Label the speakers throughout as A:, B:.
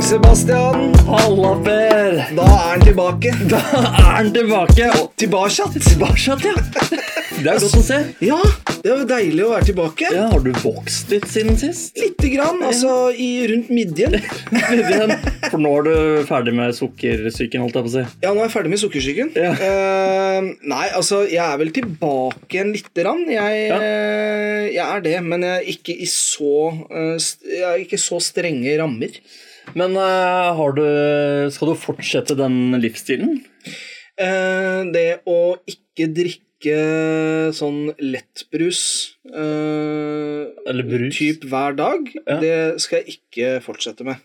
A: Sebastian.
B: Halla, Per!
A: Da er han tilbake.
B: Da er han tilbake! Og
A: Tilbakeatt.
B: tilbakesatt, ja. Det er godt å se.
A: Ja, det er jo deilig å være tilbake.
B: Ja, Har du vokst litt siden sist?
A: Lite grann, altså i, rundt midjen.
B: Vivian, For nå er du ferdig med sukkersyken, holdt jeg på å si.
A: Ja, nå er jeg ferdig med sukkersyken.
B: Ja.
A: Eh, nei, altså, jeg er vel tilbake igjen lite grann. Jeg,
B: Ja.
A: eh, jeg er det, men jeg er ikke i så, eh, st- jeg er ikke så strenge rammer.
B: Men eh, har du, skal du fortsette den livsstilen?
A: Eh, det å ikke drikke sånn lettbrus eh,
B: Eller brus?
A: typ hver dag,
B: Ja.
A: det skal jeg ikke fortsette med.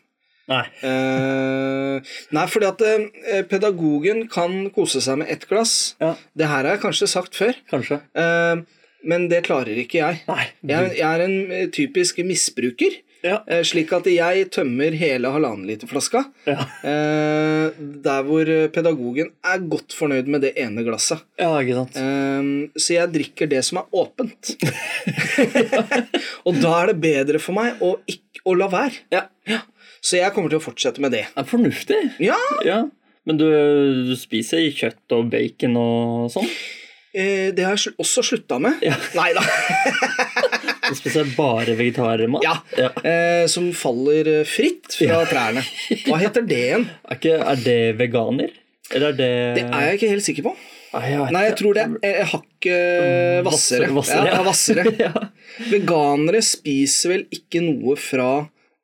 B: Nei.
A: Eh, nei, fordi at eh, pedagogen kan kose seg med ett glass.
B: Ja,
A: Det her har jeg kanskje sagt før,
B: kanskje.
A: eh, men det klarer ikke jeg.
B: Nei.
A: Jeg, jeg er en eh, typisk misbruker,
B: Ja.
A: eh, slik at jeg tømmer hele halvannen liter flaska.
B: Ja.
A: eh, der hvor eh, pedagogen er godt fornøyd med det ene glasset.
B: ja, ikke sant.
A: Ehm, så jeg drikker det som er åpent. og da er det bedre for meg å, ikk- å la være.
B: Ja.
A: Så jeg kommer til å fortsette med det.
B: Det er fornuftig.
A: Ja,
B: Ja. Men du, du spiser kjøtt og bacon og sånn?
A: eh, det har jeg sl- også slutta med.
B: Ja.
A: Nei da.
B: Du spiser bare vegetarmat?
A: Ja.
B: ja.
A: Eh, som faller eh, fritt fra trærne. Hva heter det igjen?
B: Er, ikke, er det veganer? Eller er det
A: Det er jeg ikke helt sikker på.
B: Nei, jeg vet
A: Nei, jeg
B: ikke.
A: tror det er eh, hakket eh, hvassere.
B: Ah, Vassere, vassere.
A: Ja, ja, vassere.
B: ja.
A: Veganere spiser vel ikke noe fra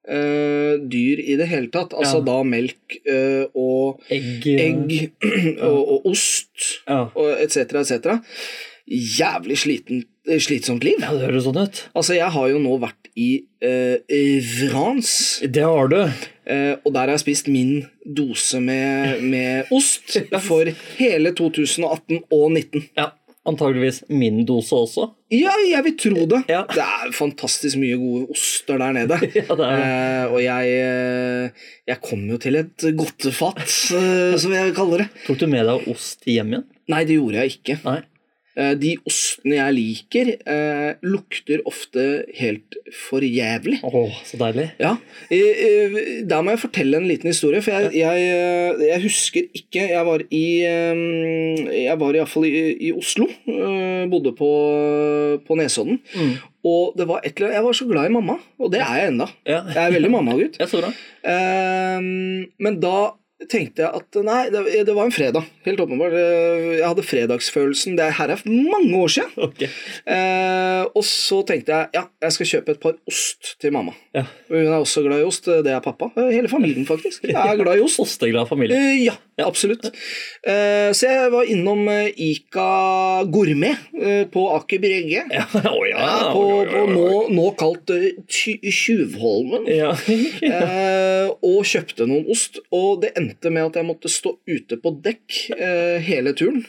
A: eh, dyr i det hele tatt. Altså
B: Ja.
A: da melk eh, og
B: Egg,
A: egg og, og ost
B: Ja.
A: og etc. etc. Jævlig sliten, eh, slitsomt liv.
B: ja, det høres sånn ut.
A: Altså, jeg har jo nå vært i eh, eh, France,
B: Det har du.
A: eh, og der har jeg spist min dose med, med ost for hele 2018 og 2019.
B: Ja. Antageligvis min dose også.
A: Ja, jeg vil tro det.
B: Ja.
A: Det er fantastisk mye gode oster der nede.
B: Ja, det er det.
A: Eh, og jeg, eh, jeg kom jo til et godtefat, eh, som jeg kaller det.
B: Tok du med deg ost hjem igjen?
A: Nei, det gjorde jeg ikke.
B: Nei.
A: Eh, De ostene jeg liker, eh, lukter ofte helt for jævlig.
B: Å, så deilig.
A: Ja, eh, eh, Der må jeg fortelle en liten historie, for jeg, jeg, eh, jeg husker ikke Jeg var i eh, Jeg var iallfall i, i Oslo. eh, Bodde på, på Nesodden.
B: Mm.
A: Og det var et eller annet Jeg var så glad i mamma, og det er jeg enda.
B: Ja.
A: Jeg er veldig mammagutt.
B: ja, så bra.
A: Eh, Men da tenkte jeg at Nei, det, det var en fredag. Helt åpenbart. Eh, Jeg hadde fredagsfølelsen. Det her er mange år siden.
B: Ok.
A: Eh, og så tenkte jeg ja, jeg skal kjøpe et par ost til mamma.
B: Ja.
A: Hun er også glad i ost. Det er pappa. Eh, Hele familien, faktisk. Jeg er glad i ost.
B: Osteglad familie.
A: Eh, ja, absolutt. Eh, så jeg var innom eh, Ica Gourmet eh, på Aker Brygge.
B: Ja, å ja.
A: Ja, på, på nå, nå kalt eh, Ty- Tjuvholmen.
B: ja.
A: Eh, og kjøpte noen ost, og det endte med at jeg måtte stå ute på dekk eh, hele turen.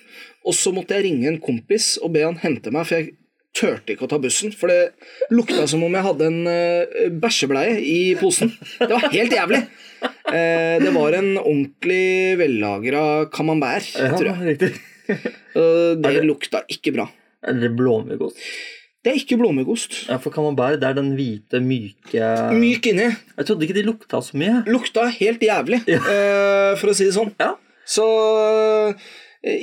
A: Og så måtte jeg ringe en kompis og be han hente meg, for jeg turte ikke å ta bussen. For det lukta som om jeg hadde en eh, bæsjebleie i posen. Det var helt jævlig! Eh, det var en ordentlig vellagra camembert, tror jeg.
B: riktig.
A: Eh, det lukta ikke bra.
B: Er det blåmuggost?
A: Det er ikke blåmuggost.
B: Ja, for camembert, det er den hvite, myke
A: Myk inni.
B: Jeg trodde ikke de lukta så mye.
A: Lukta helt jævlig, eh, for å si det sånn.
B: Ja.
A: Så eh,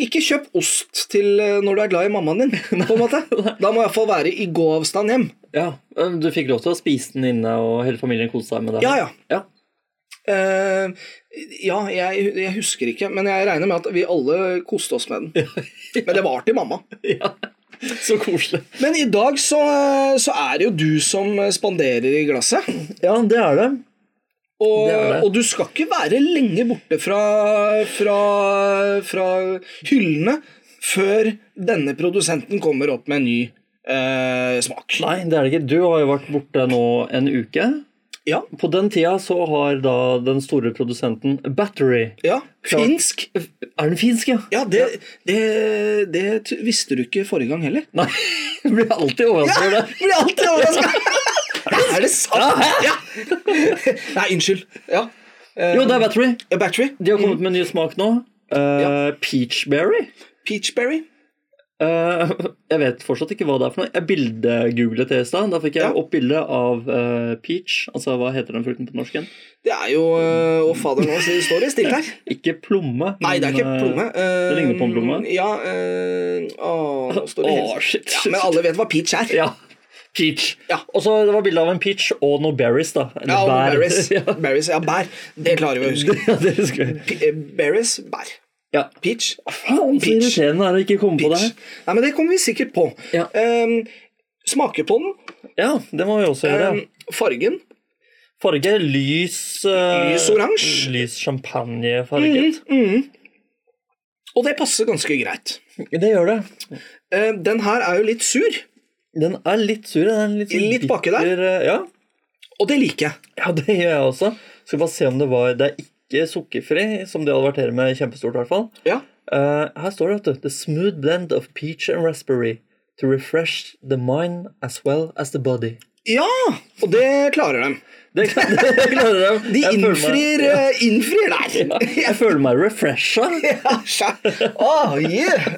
A: ikke kjøp ost til eh, når du er glad i mammaen din, på en måte. Da må jeg iallfall være i gåavstand hjem.
B: Ja, men Eh, Du fikk lov til å spise den inne, og hele familien koste seg med det?
A: Ja, ja.
B: ja.
A: Eh, ja, jeg, jeg husker ikke, men jeg regner med at vi alle koste oss med den. Men det var til mamma.
B: Ja. Så koselig.
A: Men i dag så, eh, så er det jo du som spanderer i glasset.
B: Ja, det er det.
A: Og,
B: Det er det.
A: og du skal ikke være lenge borte fra, fra, fra hyllene før denne produsenten kommer opp med en ny eh, smak.
B: Nei, det er det ikke. Du har jo vært borte nå en uke.
A: Ja,
B: På den tida så har da den store produsenten Battery
A: ja.
B: Klart.
A: Finsk.
B: Er den finsk, ja?
A: Ja, det, det, det t- visste du ikke forrige gang heller.
B: Nei, jeg blir alltid overrasket over det.
A: Blir alltid overraska! Er det sant? Ja. Nei, unnskyld. Ja. Mm. Eh,
B: Jo, det er Battery.
A: Battery.
B: De har kommet med en ny smak nå. Eh, Peachberry.
A: Peachberry.
B: Eh, jeg vet fortsatt ikke hva det er for noe. Jeg bildegooglet det i stad. Da fikk jeg
A: Ja.
B: opp bilde av eh, peach. Altså, hva heter den frukten på norsk igjen?
A: Det er jo eh, Å, fader, nå så det står det stille her.
B: Ikke plomme.
A: Nei, det er ikke
B: men, eh,
A: plomme. Ehm,
B: det ligner på en plomme.
A: Ja eh, Å, nå står det
B: Å,
A: helt
B: shit,
A: ja,
B: shit.
A: Men alle vet hva peach er.
B: Ja. Peach.
A: Ja.
B: Og så det var bilde av en peach og noe berries, da. Eller
A: Ja, og
B: bær.
A: berries.
B: ja.
A: berries. Ja, bær. Det klarer vi å huske.
B: ja, det husker jeg.
A: P- eh, Berries, bær.
B: Ja.
A: Peach.
B: Faen, så
A: Peach.
B: irriterende er det å ikke komme på det
A: peach.
B: her.
A: Nei, men det kommer vi sikkert på.
B: Ja.
A: Ehm, smake på den.
B: Ja, det må vi også gjøre.
A: Ehm, fargen.
B: Farge lys Mm-hmm. eh,
A: Lys oransje.
B: Lys champagnefarget.
A: Mhm. Og det passer ganske greit.
B: Det gjør det.
A: Ehm, den her er jo litt sur,
B: Den er litt sur. Den er litt, sånn
A: Litt baki der.
B: bitter, eh, Ja.
A: og det liker jeg.
B: ja, det gjør jeg også. Skal bare se om det var Det er ikke sukkerfri, som de adverterer med kjempestort, i hvert fall.
A: Ja.
B: Eh, her står det, vet du. The smooth blend of peach and raspberry to refresh the mind as well as the body.
A: ja! Og det klarer de.
B: Det, det klarer jeg.
A: De
B: Jeg føler meg-
A: innfrir,
B: ja,
A: eh, innfrir der.
B: Jeg føler meg refresha.
A: Ja, skjær. Åh, yeah.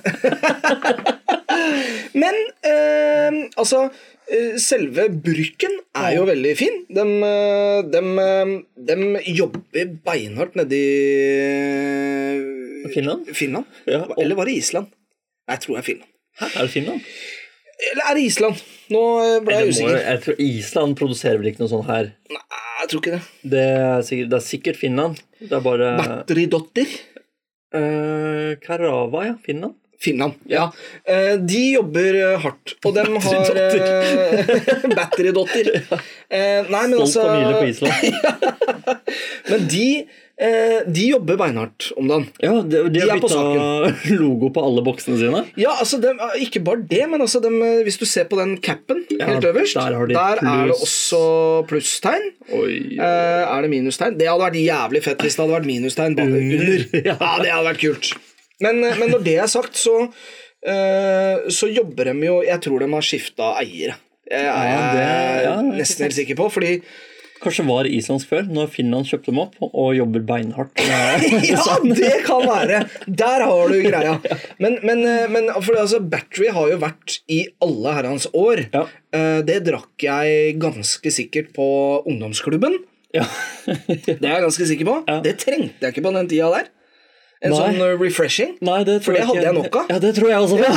A: Men eh, altså eh, Selve bruken er jo veldig fin. De, eh, de, eh, de jobber beinhardt nedi eh,
B: Finland?
A: Finland?
B: Ja, og-
A: Eller var det Island? Nei, jeg tror det er Finland.
B: Hæ, er det Finland?
A: Eller er det Island? Nå eh, ble
B: Det
A: jeg
B: må, jo-
A: usikker.
B: jeg tror Island produserer vel ikke noe sånt her.
A: Nei, jeg tror ikke det.
B: Det er sikkert, det er sikkert Finland. Det er bare
A: Batteridotter?
B: Eh, Karava, ja. Finland.
A: Finland. Ja. Eh, de jobber eh, hardt, og de har eh, Batterydotter. Eh, nei, men
B: Stolt
A: altså
B: familie på Island.
A: Men de, eh, de jobber beinhardt om dagen.
B: Ja, de, de,
A: De
B: har
A: er på
B: bytta logo på alle boksene sine.
A: Ja, altså dem, Ikke bare det, men altså dem, eh, hvis du ser på den capen helt øverst,
B: der har de
A: er det
B: pluss.
A: også plusstegn.
B: Oi.
A: Eh, er det minustegn? Det hadde vært jævlig fett hvis det hadde vært minustegn bak under. Ja, det hadde vært kult. Men, eh, men når det er sagt, så, eh, så jobber de jo Jeg tror de har skifta eiere. Det er jeg
B: Ja, det- ja, det er
A: nesten helt sikker på, fordi
B: Kanskje var islandsk før, når Finland kjøpte dem opp og jobber beinhardt.
A: Ja, det kan være! Der har du greia. Men, men, eh, men for altså, Battery har jo vært i alle herrens år.
B: Ja.
A: Eh, Det drakk jeg ganske sikkert på ungdomsklubben.
B: Ja.
A: Det er jeg ganske sikker på.
B: Ja.
A: Det trengte jeg ikke på den tida der. En
B: Nei.
A: sånn eh, refreshing.
B: Nei, det
A: For
B: tror
A: det
B: ikke.
A: hadde jeg nok av.
B: Ja, det tror jeg også. Ja.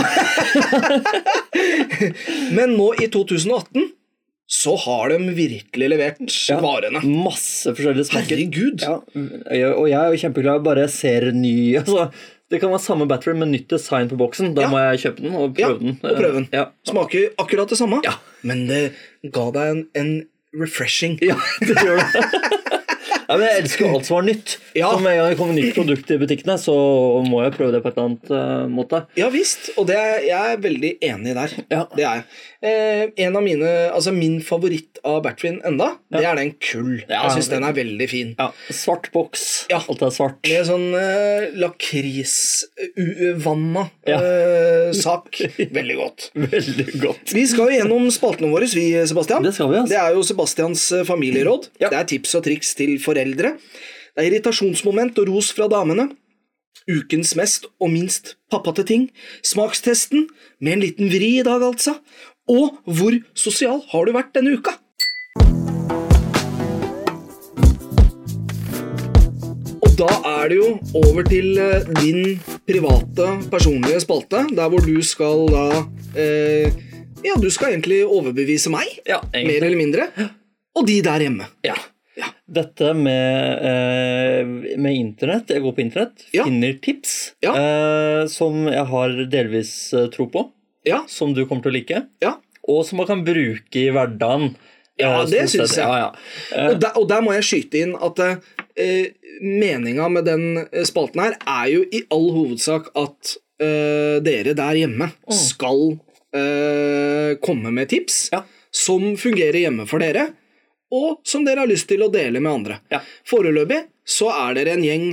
A: Men nå i 2018 så har de virkelig levert varene.
B: Mm, Masse forskjellige smaker.
A: Herregud.
B: Ja, og jeg er jo kjempeglad jeg bare ser ny altså, Det kan være samme battery, men nytt design på boksen. Da
A: Ja.
B: må jeg kjøpe den og
A: Ja,
B: prøve den.
A: og prøve den.
B: Ja.
A: Smaker akkurat det samme,
B: Ja.
A: men det ga deg en, en refreshing.
B: ja, det gjør det. Ja, men jeg elsker jo alt som er nytt.
A: Ja.
B: Så med en gang det kommer nytt produkt i butikkene, så må jeg prøve det på et eller annet eh, måte.
A: Ja visst, og det er, jeg er veldig enig der.
B: Ja.
A: Det er jeg. Eh, en av mine, altså Min favoritt av Batwin enda, det er den kull.
B: Ja,
A: jeg syns
B: det-
A: den er veldig fin.
B: Ja, svart boks.
A: Ja.
B: Alt er svart.
A: Med sånn eh, lakrisvanna
B: Ja.
A: eh, sak. Veldig godt.
B: Veldig godt.
A: Vi skal jo gjennom spaltene våre, vi, Sebastian.
B: Det skal vi, altså.
A: Det er jo Sebastians eh, familieråd.
B: Ja.
A: Det er tips og triks til foreldre. Det er irritasjonsmoment og ros fra damene. Ukens mest og minst pappate ting. Smakstesten, med en liten vri i dag, altså. Og hvor sosial har du vært denne uka? Og da er det jo over til eh, din private, personlige spalte, der hvor du skal da eh, Ja, du skal egentlig overbevise meg,
B: Ja,
A: mer eller mindre, og de der hjemme.
B: Ja. Dette med, eh, med internett, jeg går på internett,
A: Ja.
B: finner tips
A: Ja.
B: eh, som jeg har delvis eh, tro på,
A: Ja,
B: som du kommer til å like,
A: ja.
B: og som man kan bruke i hverdagen.
A: Ja, det
B: stort
A: synes
B: sett.
A: jeg.
B: Ja, ja. Eh,
A: Og der, og der må jeg skyte inn at eh, meninga med den eh, spalten her er jo i all hovedsak at eh, dere der hjemme skal eh, komme med tips
B: Ja.
A: som fungerer hjemme for dere, og som dere har lyst til å dele med andre.
B: Ja.
A: Foreløpig så er dere en gjeng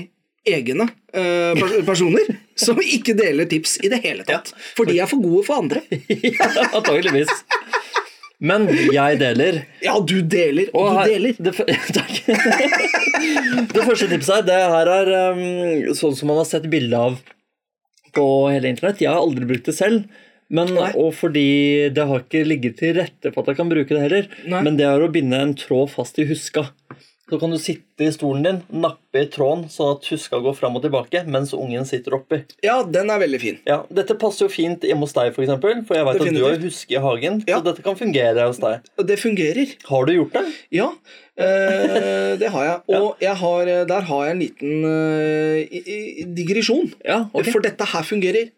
A: egne eh, pers personer som ikke deler tips i det hele tatt. For de er for gode for andre.
B: Antakeligvis. Men jeg deler.
A: Ja, du deler, og,
B: her-
A: du deler.
B: Det, f- takk. det første tipset her, det her er um, sånn som man har sett bilde av på hele internett. Jeg har aldri brukt det selv. Men,
A: Nei.
B: og fordi det har ikke ligget til rette for at jeg kan bruke det heller.
A: Nei.
B: Men det er å binde en tråd fast i huska. Så kan du sitte i stolen din, nappe i tråden sånn at huska går fram og tilbake mens ungen sitter oppi.
A: Ja, den er veldig fin.
B: Ja, Dette passer jo fint hjemme hos deg, for, eksempel, for jeg vet at du har
A: Definitivt.
B: huske i hagen.
A: Ja.
B: Så dette kan fungere hos deg.
A: Og det fungerer.
B: Har du gjort det?
A: Ja, eh, det har jeg. Og jeg har, eh, der har jeg en liten eh, i- i- digresjon.
B: Ja,
A: For dette her fungerer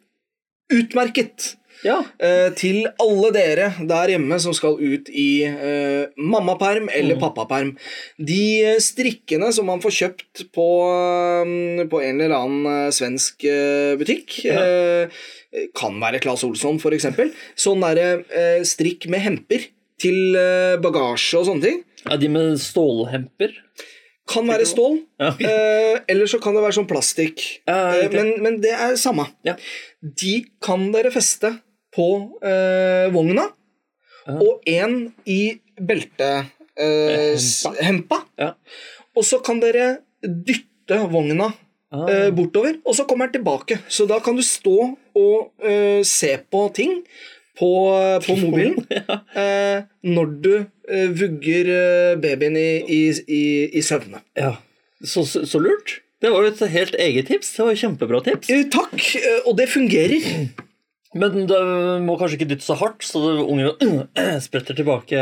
A: utmerket.
B: Ja.
A: Eh, til alle dere der hjemme som skal ut i eh, mammaperm
B: Mm.
A: eller pappaperm. De eh, strikkene som man får kjøpt på, eh, på en eller annen eh, svensk eh, butikk,
B: Ja.
A: eh, kan være Claes Olsson f.eks. Sånn derre eh, strikk med hemper til eh, bagasje og sånne ting.
B: ja de med stålhemper.
A: Kan være stål,
B: Ja.
A: eh, eller så kan det være sånn plastikk.
B: Ja,
A: Eh,
B: riktig.
A: men, men det er samme.
B: Ja.
A: De kan dere feste på eh, vogna,
B: Ja.
A: og én i beltehempa. Eh, s-
B: Hempa.
A: hempa.
B: Ja.
A: Og så kan dere dytte vogna
B: Ah.
A: eh, bortover, og så kommer den tilbake. Så da kan du stå og eh, se på ting på, på mobilen eh, når du eh, vugger eh, babyen i, i, i, i søvne.
B: Ja. Så, så, så lurt. Det var jo et helt eget tips. Det var jo Kjempebra tips.
A: Eh, Takk, eh, og det fungerer.
B: Men det må kanskje ikke dytte så hardt, så det- ungen spretter tilbake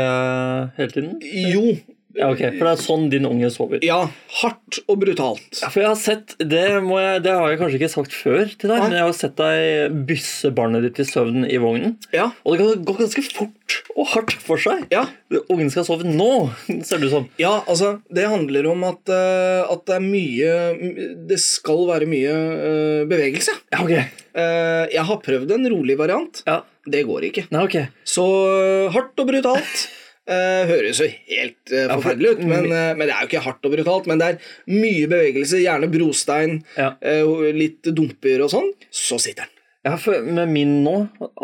B: hele tiden?
A: Jo.
B: Ja, ok. For det er sånn din unge sover.
A: Ja, hardt og brutalt.
B: Ja, For jeg har sett, det, må jeg, det har jeg kanskje ikke sagt før til deg,
A: Nei.
B: men jeg har sett deg bysse barnet ditt til søvn i vognen.
A: Ja.
B: Og det kan gå ganske fort og hardt for seg.
A: Ja,
B: Ungen skal sove nå, ser det ut som.
A: ja altså, det handler om at, eh, at det er mye Det skal være mye eh, bevegelse.
B: Ja, ok.
A: Eh, jeg har prøvd en rolig variant.
B: Ja.
A: Det går ikke.
B: Nei, ok.
A: Så eh, hardt og brutalt eh, høres jo helt eh,
B: for- Mm.
A: forferdelig ut, men, eh, men det er jo ikke hardt og brutalt. Men det er mye bevegelse, gjerne brostein,
B: Ja.
A: eh, og litt dumper og sånn. Så sitter den.
B: Ja, for med min nå,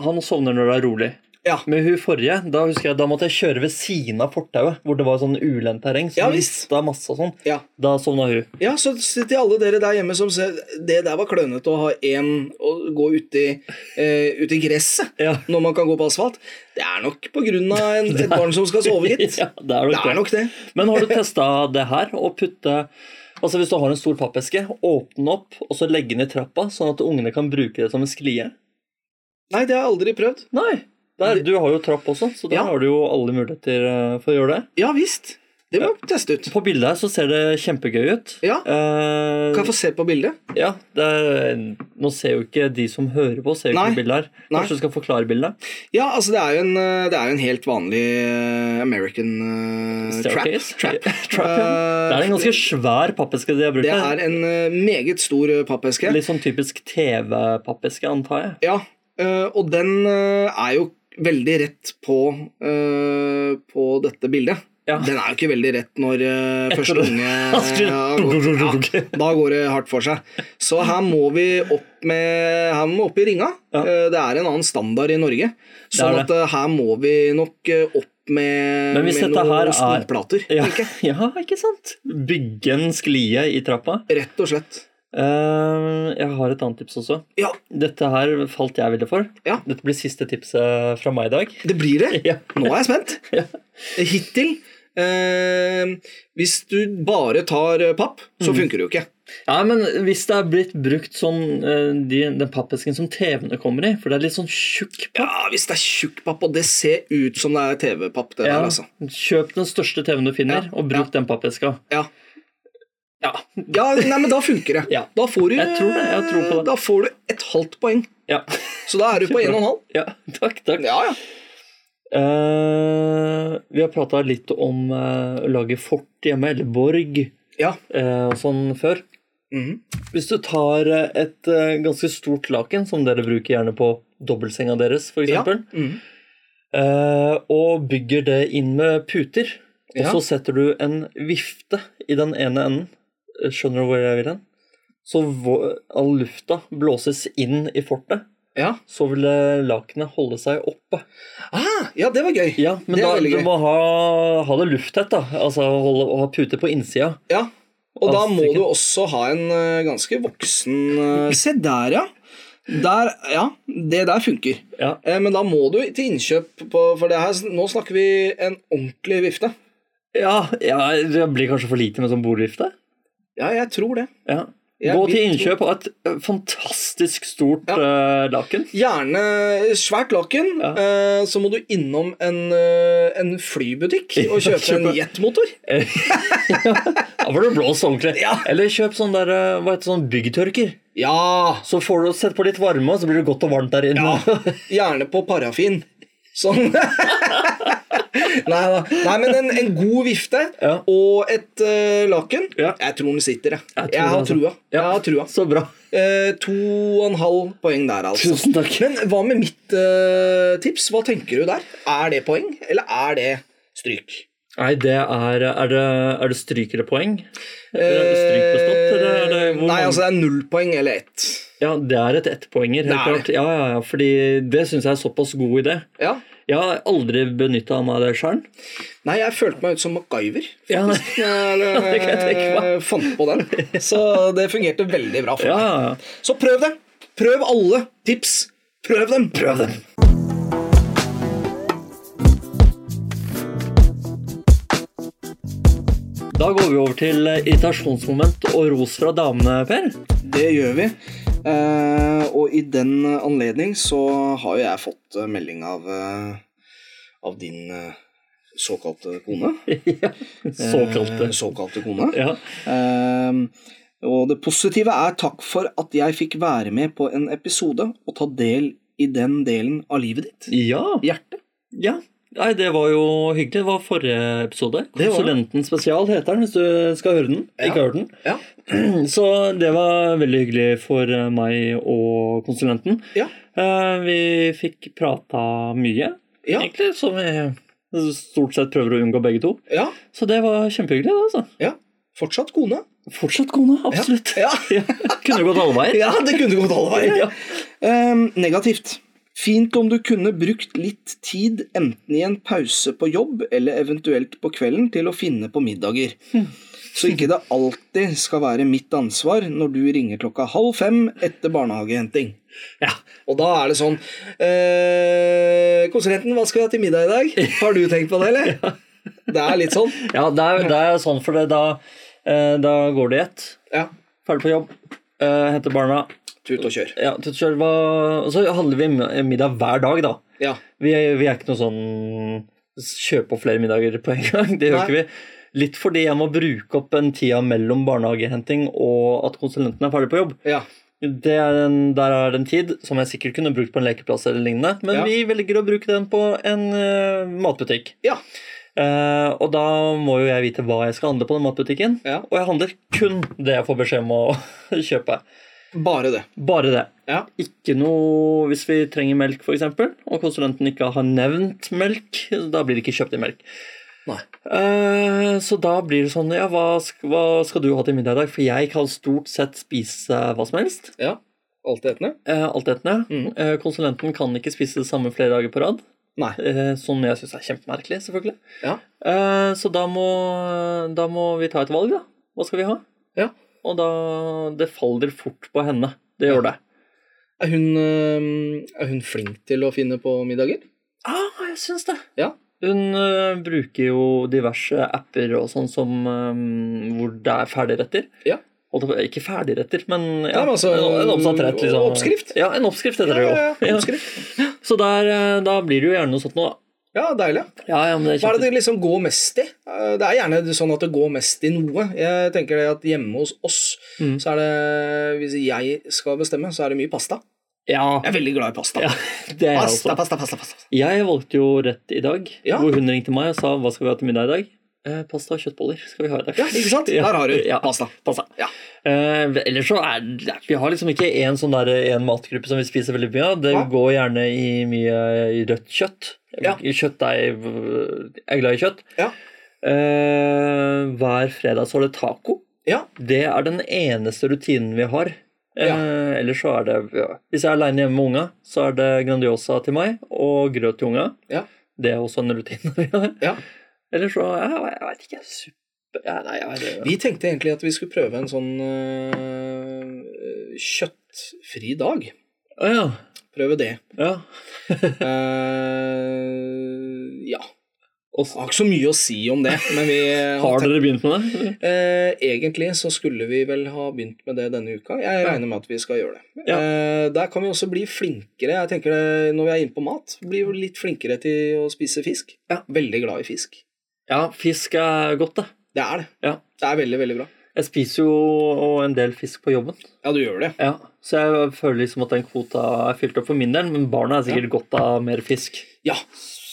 B: han sovner når det er rolig.
A: Ja.
B: Med hun forrige, da husker jeg, da måtte jeg kjøre ved siden av fortauet, hvor det var sånn ulendt terreng, så
A: Ja,
B: det
A: visst.
B: lista masse og sånn.
A: ja.
B: Da sovna hun.
A: Ja, så til alle dere der hjemme som ser Det der var klønete å ha én og gå uti eh, ut i gresset
B: Ja.
A: når man kan gå på asfalt. Det er nok på grunn av en, et barn som skal sove, gitt.
B: Ja, det er nok
A: Det er nok det.
B: Men har du testa det her, å putte Altså Hvis du har en stor pappeske, åpne den opp og så legge den i trappa, sånn at ungene kan bruke det som en sklie?
A: Nei, det har jeg aldri prøvd.
B: Nei! Der, du har jo trapp også, så da
A: Ja.
B: har du jo alle muligheter eh, for å gjøre det.
A: Ja visst. Det må jeg teste ut.
B: På bildet her så ser det kjempegøy ut.
A: Ja.
B: Eh,
A: Kan jeg få se på bildet?
B: Ja, det er, Nå ser jo ikke de som hører på, ser jo
A: Nei.
B: ikke bildet her. Kanskje
A: Nei.
B: du skal forklare bildet?
A: Ja, altså det er jo en, eh, det er jo en helt vanlig eh, American eh,
B: Staircase?
A: trap. trap.
B: Trap, ja.
A: Eh,
B: det er en ganske svær pappeske de har brukt
A: Det
B: her.
A: er en eh, meget stor eh, pappeske.
B: Litt sånn typisk TV-pappeske, antar jeg.
A: Ja, øh, og den øh, er jo veldig rett på, øh, på dette bildet.
B: Ja.
A: Den er jo ikke veldig rett når øh,
B: Etter
A: første
B: det-
A: unge
B: Asker-
A: ja, går- ja, Da går det hardt for seg. Så her må vi opp, med, her må vi opp i ringa.
B: Ja.
A: Eh, Det er en annen standard i Norge.
B: er
A: Sånn
B: det.
A: at eh, her må vi nok eh, opp med,
B: Men hvis
A: med
B: dette her er-
A: noen snoplater.
B: Ja, ja, ikke sant? Bygge en sklie i trappa.
A: Rett og slett.
B: Eh, jeg har et annet tips også.
A: Ja,
B: Dette her falt jeg veldig for.
A: Ja.
B: Dette blir siste tipset fra meg i dag.
A: det blir det.
B: Ja.
A: Nå er jeg spent.
B: Ja.
A: Hittil eh, Hvis du bare tar eh, papp,
B: Mm.
A: så funker det jo ikke.
B: Ja, men hvis det er blitt brukt sånn eh, de, den pappesken som TV-ene kommer i, for det er litt sånn tjukk
A: Ja, Hvis det er tjukk papp, og det ser ut som det er TV-papp, det
B: Ja,
A: der, altså.
B: Kjøp den største TV-en du finner,
A: Ja,
B: og bruk den pappeska.
A: Ja.
B: Ja.
A: ja, nei, men da funker det.
B: Ja.
A: Da får du
B: Jeg tror det, jeg tror på det.
A: Da får du et halvt poeng.
B: Ja.
A: Så da er du på
B: Kjempebra.
A: en og en halv.
B: ja takk, takk.
A: Ja, ja.
B: Eh, vi har prata litt om eh, å lage fort hjemme, eller borg,
A: Ja.
B: eh, og sånn før.
A: Mhm.
B: Hvis du tar eh, et eh, ganske stort laken, som dere bruker gjerne på dobbeltsenga deres, for
A: Ja.
B: eksempel,
A: Mhm.
B: eh, og bygger det inn med puter, og
A: Ja.
B: så setter du en vifte i den ene enden, eh, skjønner du hvor jeg vil hen? Så vå- all lufta blåses inn i fortet,
A: ja.
B: så vil eh, lakenet holde seg oppe.
A: Ah, ja, det var gøy.
B: Ja, men
A: Det er
B: da,
A: veldig
B: du
A: gøy.
B: må ha, ha det lufttett, da. Altså holde, ha puter på innsida.
A: Ja. Og da må
B: Avstikker.
A: du også ha en eh, ganske voksen eh, Se der, ja. Der, ja, det der funker.
B: Ja.
A: Eh, Men da må du til innkjøp på For det her, nå snakker vi en ordentlig vifte.
B: Ja, ja, det blir kanskje for lite med sånn bordvifte.
A: Ja, jeg tror det.
B: Ja.
A: Jeg
B: Gå
A: vil
B: til
A: tro-
B: innkjøp av et ø, fantastisk stort ø, laken.
A: Gjerne svært laken.
B: Ja.
A: eh, Så må du innom en, eh, en flybutikk og
B: Ja,
A: kjøpe en
B: kjøpe-
A: jetmotor.
B: Da får du blåst ordentlig.
A: Ja.
B: Eller kjøp sånn der, ø, hva heter det, sånn byggtørker.
A: Ja!
B: Så får du sett på litt varme, og så blir det godt og varmt der inne.
A: Gjerne på parafin. Sånn. Nei da. Nei, men en, en god vifte
B: Ja.
A: og et eh, laken.
B: Ja.
A: Jeg tror den sitter, jeg.
B: Jeg tror
A: Jeg, har
B: det, altså.
A: trua.
B: Ja.
A: Jeg har trua.
B: Så bra.
A: Eh, to og en halv poeng der, altså.
B: Tusen takk.
A: Men hva med mitt eh, tips? Hva tenker du der? Er det poeng, eller er det stryk?
B: Nei, det er Er det, er det stryk eller poeng? Eller er det stryk bestått, eller er det
A: Eh,
B: hvor
A: Nei,
B: mange-
A: altså det er null poeng eller ett.
B: Ja, det er et ettpoenger, helt
A: Det er det.
B: klart. Ja, ja, ja, fordi det syns jeg er såpass god idé.
A: Ja.
B: Jeg har aldri benytta meg av det sjøl.
A: Nei, jeg følte meg ut som MacGyver.
B: Ja, nei.
A: Eller,
B: det kan jeg tenke meg.
A: eh, fant på den. Så det fungerte veldig bra for
B: ja,
A: meg.
B: ja, ja.
A: Så prøv det. Prøv alle tips. Prøv dem. Prøv dem.
B: Da går vi over til eh, irritasjonsmoment og ros fra damene, Per.
A: Det gjør vi. Eh, og i den anledning så har jo jeg fått eh, melding av, eh, av din eh, såkalte kone.
B: Såkalte.
A: Eh, såkalte kone.
B: Ja.
A: Ehm, og det positive er takk for at jeg fikk være med på en episode og ta del i den delen av livet ditt.
B: ja.
A: Hjerte.
B: Ja. Nei, det var jo hyggelig. Det var forrige episode.
A: Det var det.
B: Konsulenten spesial heter den, hvis du skal høre den.
A: Ja.
B: Ikke har hørt den.
A: Ja.
B: Så det var veldig hyggelig for eh, meg og konsulenten.
A: Ja.
B: Eh, Vi fikk prata mye,
A: Ja.
B: egentlig, som vi stort sett prøver å unngå begge to.
A: ja.
B: Så det var kjempehyggelig, det, altså.
A: ja. Fortsatt kone.
B: Fortsatt kone, absolutt.
A: Ja.
B: Ja. Kunne gått alle veier.
A: Ja, det kunne gått alle veier.
B: Ja.
A: Ehm, negativt. Fint om du kunne brukt litt tid, enten i en pause på jobb eller eventuelt på kvelden, til å finne på middager. Så ikke det alltid skal være mitt ansvar når du ringer klokka halv fem etter barnehagehenting.
B: Ja.
A: Og da er det sånn eh, Konsulenten, hva skal vi ha til middag i dag? Har du tenkt på det, eller? Det er litt sånn.
B: Ja, det er, det er sånn, for det, da, eh, da går det i ett.
A: Ja.
B: Ferdig på jobb, eh, henter barna.
A: Tut og kjør.
B: Ja, tut og kjør, hva- og så handler vi mi- middag hver dag, da.
A: Ja.
B: Vi er, vi er ikke noe sånn kjøpe opp flere middager på en gang. Det gjør
A: Nei.
B: ikke vi. Litt fordi jeg må bruke opp den tida mellom barnehagehenting og at konsulenten er ferdig på jobb.
A: Ja.
B: Det er en, der er det en tid som jeg sikkert kunne brukt på en lekeplass eller lignende, men
A: Ja.
B: vi velger å bruke den på en eh, matbutikk.
A: Ja.
B: Eh, og da må jo jeg vite hva jeg skal handle på den matbutikken.
A: Ja.
B: Og jeg handler kun det jeg får beskjed om å kjøpe.
A: Bare det.
B: Bare det.
A: Ja.
B: Ikke noe hvis vi trenger melk, f.eks., og konsulenten ikke har nevnt melk, da blir det ikke kjøpt i melk.
A: Nei.
B: Eh, så da blir det sånn Ja, hva skal, hva skal du ha til middag i dag? For jeg kan stort sett spise hva som helst.
A: Ja. Altetende?
B: Uh, Altetende.
A: Mhm.
B: Eh, konsulenten kan ikke spise det samme flere dager på rad.
A: Nei.
B: Eh, Som jeg syns er kjempemerkelig, selvfølgelig.
A: Ja.
B: Eh, Så da må, da må vi ta et valg, da. Hva skal vi ha?
A: Ja.
B: Og da Det faller fort på henne. Det gjør det.
A: Er hun, øhm, er hun flink til å finne på middager?
B: Ah, jeg syns det.
A: Ja.
B: Hun eh, bruker jo diverse apper og sånn som eh, hvor det er ferdigretter.
A: Ja.
B: Holdt jeg på- Ikke ferdigretter, men
A: Nei,
B: ja,
A: men altså,
B: en, en oppsatt rett. Liksom.
A: oppskrift.
B: Ja, en oppskrift heter det jo.
A: ja, ja.
B: Ja.
A: Oppskrift.
B: Så der, eh, da blir det jo gjerne noe sånt noe, da.
A: Ja, deilig.
B: Ja, ja, men det er
A: Hva er
B: kjempe-
A: det det liksom går mest i? Eh, Det er gjerne sånn at det går mest i noe. Jeg tenker det at hjemme hos oss,
B: Mm.
A: så er det Hvis jeg skal bestemme, så er det mye pasta.
B: Ja,
A: Jeg er veldig glad i pasta.
B: Ja, det er jeg også.
A: Pasta, pasta, pasta, pasta.
B: Jeg valgte jo rett i dag,
A: Ja.
B: hvor hun ringte meg og sa hva skal vi ha til middag i dag? Eh, pasta og kjøttboller skal vi ha i dag.
A: Ja, ikke sant? Der har du
B: Ja,
A: pasta.
B: pasta.
A: Ja.
B: Eh, ellers så er det Vi har liksom ikke én sånn der, en matgruppe som vi spiser veldig mye av. Det
A: Nei.
B: går gjerne i mye i rødt kjøtt.
A: Ja.
B: I Kjøttdeig Jeg er glad i kjøtt.
A: Ja.
B: Eh, hver fredag så er det taco.
A: Ja.
B: Det er den eneste rutinen vi har. Eh,
A: Ja.
B: Ellers så er det ja. Hvis jeg er aleine hjemme med unga, så er det Grandiosa til meg og grøt til unga.
A: Ja.
B: Det er også en rutine vi har.
A: Ja.
B: Eller så Jeg, jeg veit ikke. Suppe ja, Nei, jeg vet
A: Vi tenkte egentlig at vi skulle prøve en sånn øh, øh, eh, kjøttfri dag.
B: Å ja.
A: Prøve det.
B: ja.
A: Eh, ja.
B: Og s-
A: Jeg har ikke så mye å si om det, men vi
B: har dere begynt med det? eller?
A: Eh, egentlig så skulle vi vel ha begynt med det denne uka. Jeg regner med at vi skal gjøre det.
B: Ja.
A: Eh, der kan vi også bli flinkere. Jeg tenker det, Når vi er inne på mat, blir vi litt flinkere til å spise fisk.
B: Ja.
A: Veldig glad i fisk.
B: Ja, fisk er godt, det.
A: Det er det.
B: Ja.
A: Det er veldig, veldig bra.
B: Jeg spiser jo en del fisk på jobben.
A: Ja, du gjør det.
B: Ja, Så jeg føler liksom at den kvota er fylt opp for min del, men barna er sikkert godt av mer fisk.
A: Ja.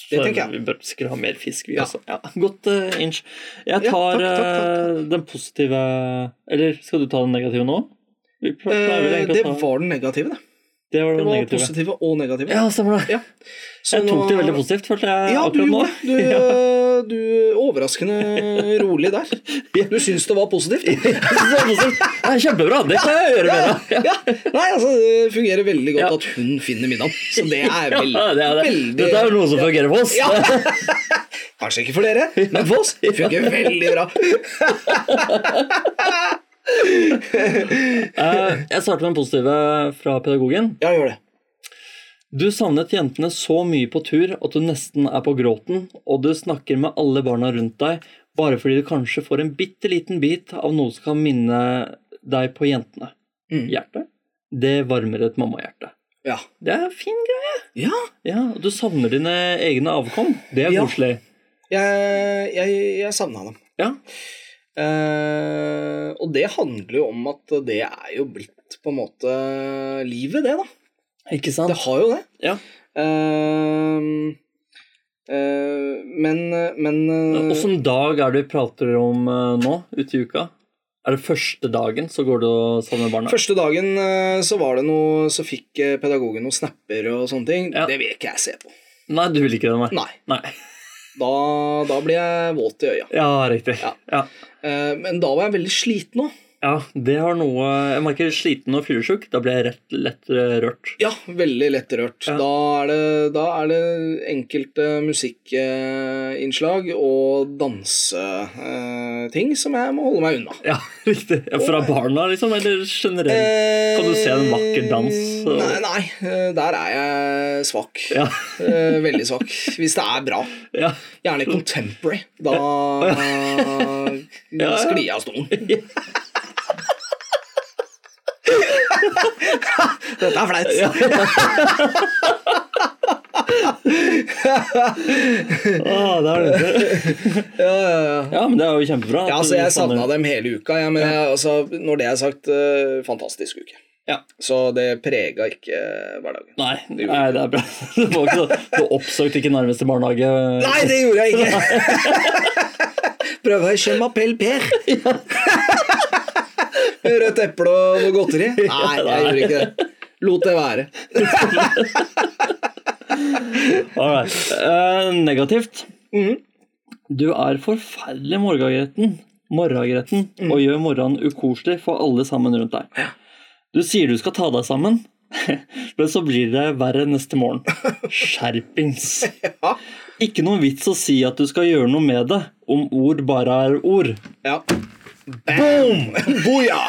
B: Så
A: tenker jeg.
B: Vi bør sikkert ha mer fisk, vi
A: Ja.
B: også. Ja, godt eh, inch. Jeg
A: Ja,
B: tar
A: takk, takk, takk,
B: eh, den positive Eller skal du ta den negative nå? Vi pl- pleier vel
A: Eh,
B: egentlig
A: det
B: å ta-
A: var den negative, det.
B: det var
A: Det
B: den
A: var
B: negative.
A: positive og negative.
B: Ja, stemmer det.
A: Ja. Så
B: jeg tok
A: nå-
B: det veldig positivt, følte jeg
A: Ja, du
B: Eh, akkurat nå.
A: gjorde det. Du, du Overraskende rolig der. Du syns det var positivt?
B: Det var positivt. Det er kjempebra! Det kan jeg gjøre mer av. Ja.
A: Ja. Nei, altså, det fungerer veldig godt
B: Ja.
A: at hun finner middagen. Så det er vel
B: Ja, det er det.
A: veldig
B: Dette er jo noe som fungerer for oss.
A: Ja. Kanskje ikke for dere, men for oss det fungerer veldig bra.
B: Eh, Jeg starter med den positive fra pedagogen.
A: Ja, gjør det.
B: Du savnet jentene så mye på tur at du nesten er på gråten, og du snakker med alle barna rundt deg bare fordi du kanskje får en bitte liten bit av noe som kan minne deg på jentene.
A: Mm.
B: Hjertet? Det varmer et mammahjerte.
A: Ja.
B: Det er en fin greie.
A: ja.
B: Ja, og du savner dine egne avkom. Det er
A: Ja.
B: koselig.
A: Jeg, jeg, jeg savna dem.
B: Ja.
A: Eh, og det handler jo om at det er jo blitt på en måte livet, det, da.
B: Ikke
A: Det
B: sant?
A: har jo det.
B: Ja.
A: Ehm, eh, men men eh,
B: Åssen dag er det vi prater om eh, nå ute i uka? Er det første dagen så går du og savner barna?
A: Første dagen eh, så var det noe Så fikk eh, pedagogen noen snapper og sånne ting.
B: Ja.
A: Det vil ikke jeg se på.
B: Nei, du vil ikke det, nei.
A: Nei.
B: nei.
A: Da, da blir jeg våt i øya.
B: Ja, riktig.
A: Ja.
B: ja.
A: Eh, Men da var jeg veldig sliten òg.
B: Ja, det har noe Jeg merker sliten og fyllesyk. Da blir jeg rett lett eh, rørt.
A: Ja, veldig lett rørt.
B: Ja.
A: Da, er det, da er det enkelte musikkinnslag og danseting som jeg må holde meg unna.
B: Ja, riktig. Ja, fra barna, liksom? Eller generelt?
A: Kan
B: du se en vakker dans, og-
A: Nei, nei, eh, der er jeg svak.
B: Ja.
A: Eh, Veldig svak. Hvis det er bra.
B: ja.
A: Gjerne contemporary. Da
B: ja.
A: sklir jeg av stolen. Dette er flaut.
B: Ah, det er det.
A: Ja, ja, ja.
B: ja, men det er jo kjempebra.
A: Ja, altså, jeg savna dem hele uka. Jeg, men jeg, altså, når det er sagt, eh, fantastisk uke.
B: Ja.
A: Så det prega ikke eh, hverdagen.
B: Nei, nei, det er bra. Det var ikke så, du oppsøkte ikke nærmeste barnehage?
A: Nei, det gjorde jeg ikke! Prøve å kjemme appell Per. Rødt eple og noe godteri? Nei, jeg gjorde ikke det. Lot det være.
B: Alright. Eh, negativt.
A: Mhm.
B: Du er forferdelig morgengretten, morgengretten
A: Mhm.
B: og gjør morgenen ukoselig for alle sammen rundt deg. Du sier du skal ta deg sammen, men så blir det verre neste morgen. Skjerpings.
A: Ja.
B: Ikke noen vits å si at du skal gjøre noe med det, om ord bare er ord.
A: ja. Boom! Boja!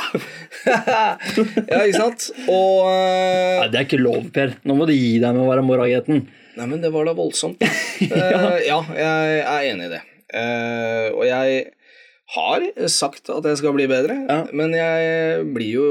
A: ja, ikke sant? Og eh,
B: Nei, Det er ikke lov, Per. Nå må du gi deg med å være morgengretten.
A: Nei, men det var da voldsomt. Eh, ja, jeg er enig i det. Eh, og jeg har sagt at jeg skal bli bedre,
B: Ja.
A: men jeg blir jo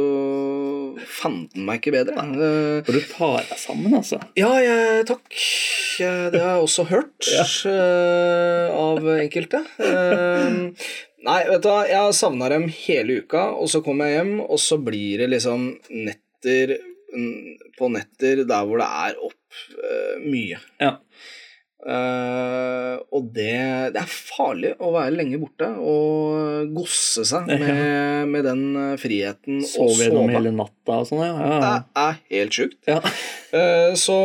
A: fanden meg ikke bedre. Eh,
B: For du tar deg sammen, altså.
A: ja, jeg, takk. Eh, Det har jeg også hørt eh, av enkelte. Eh, nei, vet du hva, jeg savna dem hele uka, og så kommer jeg hjem, og så blir det liksom netter mm, på netter der hvor det er opp eh, mye.
B: Ja.
A: Eh, og det, det er farlig å være lenge borte og gosse seg med, med den eh, friheten og
B: Sover gjennom hele natta og sånn, ja.
A: Det
B: ja.
A: er helt sjukt.
B: Ja.
A: Eh, så,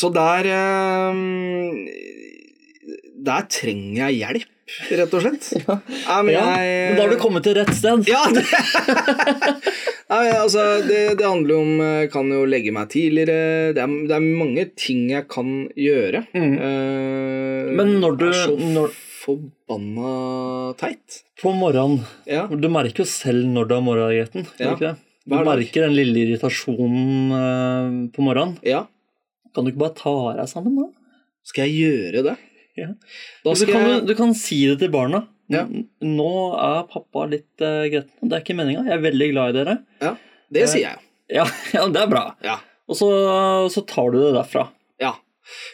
A: så der eh, Der trenger jeg hjelp, rett og slett. Nei, men
B: Ja,
A: jeg-
B: men da har du kommet til rett sted.
A: ja, det, Nei, altså, det, det handler jo om eh, Kan jo legge meg tidligere. Det er, det er mange ting jeg kan gjøre.
B: Mm.
A: Eh,
B: Men når du-
A: Det er så
B: når-
A: forbanna teit.
B: På morgenen
A: Ja.
B: Du merker jo selv når du har morgengretten. gjør du
A: Ja.
B: ikke det? Du
A: Hver dag.
B: merker den lille irritasjonen eh, på morgenen.
A: Ja,
B: Kan du ikke bare ta deg sammen, da?
A: skal jeg gjøre det?
B: Ja.
A: Da
B: Du
A: skal
B: kan,
A: jeg
B: du kan si det til barna.
A: Ja.
B: N- Nå er pappa litt eh, gretten, og det er ikke meninga. Jeg er veldig glad i dere. Eh,
A: Det sier jeg.
B: Ja, ja det er bra.
A: Ja.
B: Og så, så tar du det derfra.
A: Ja.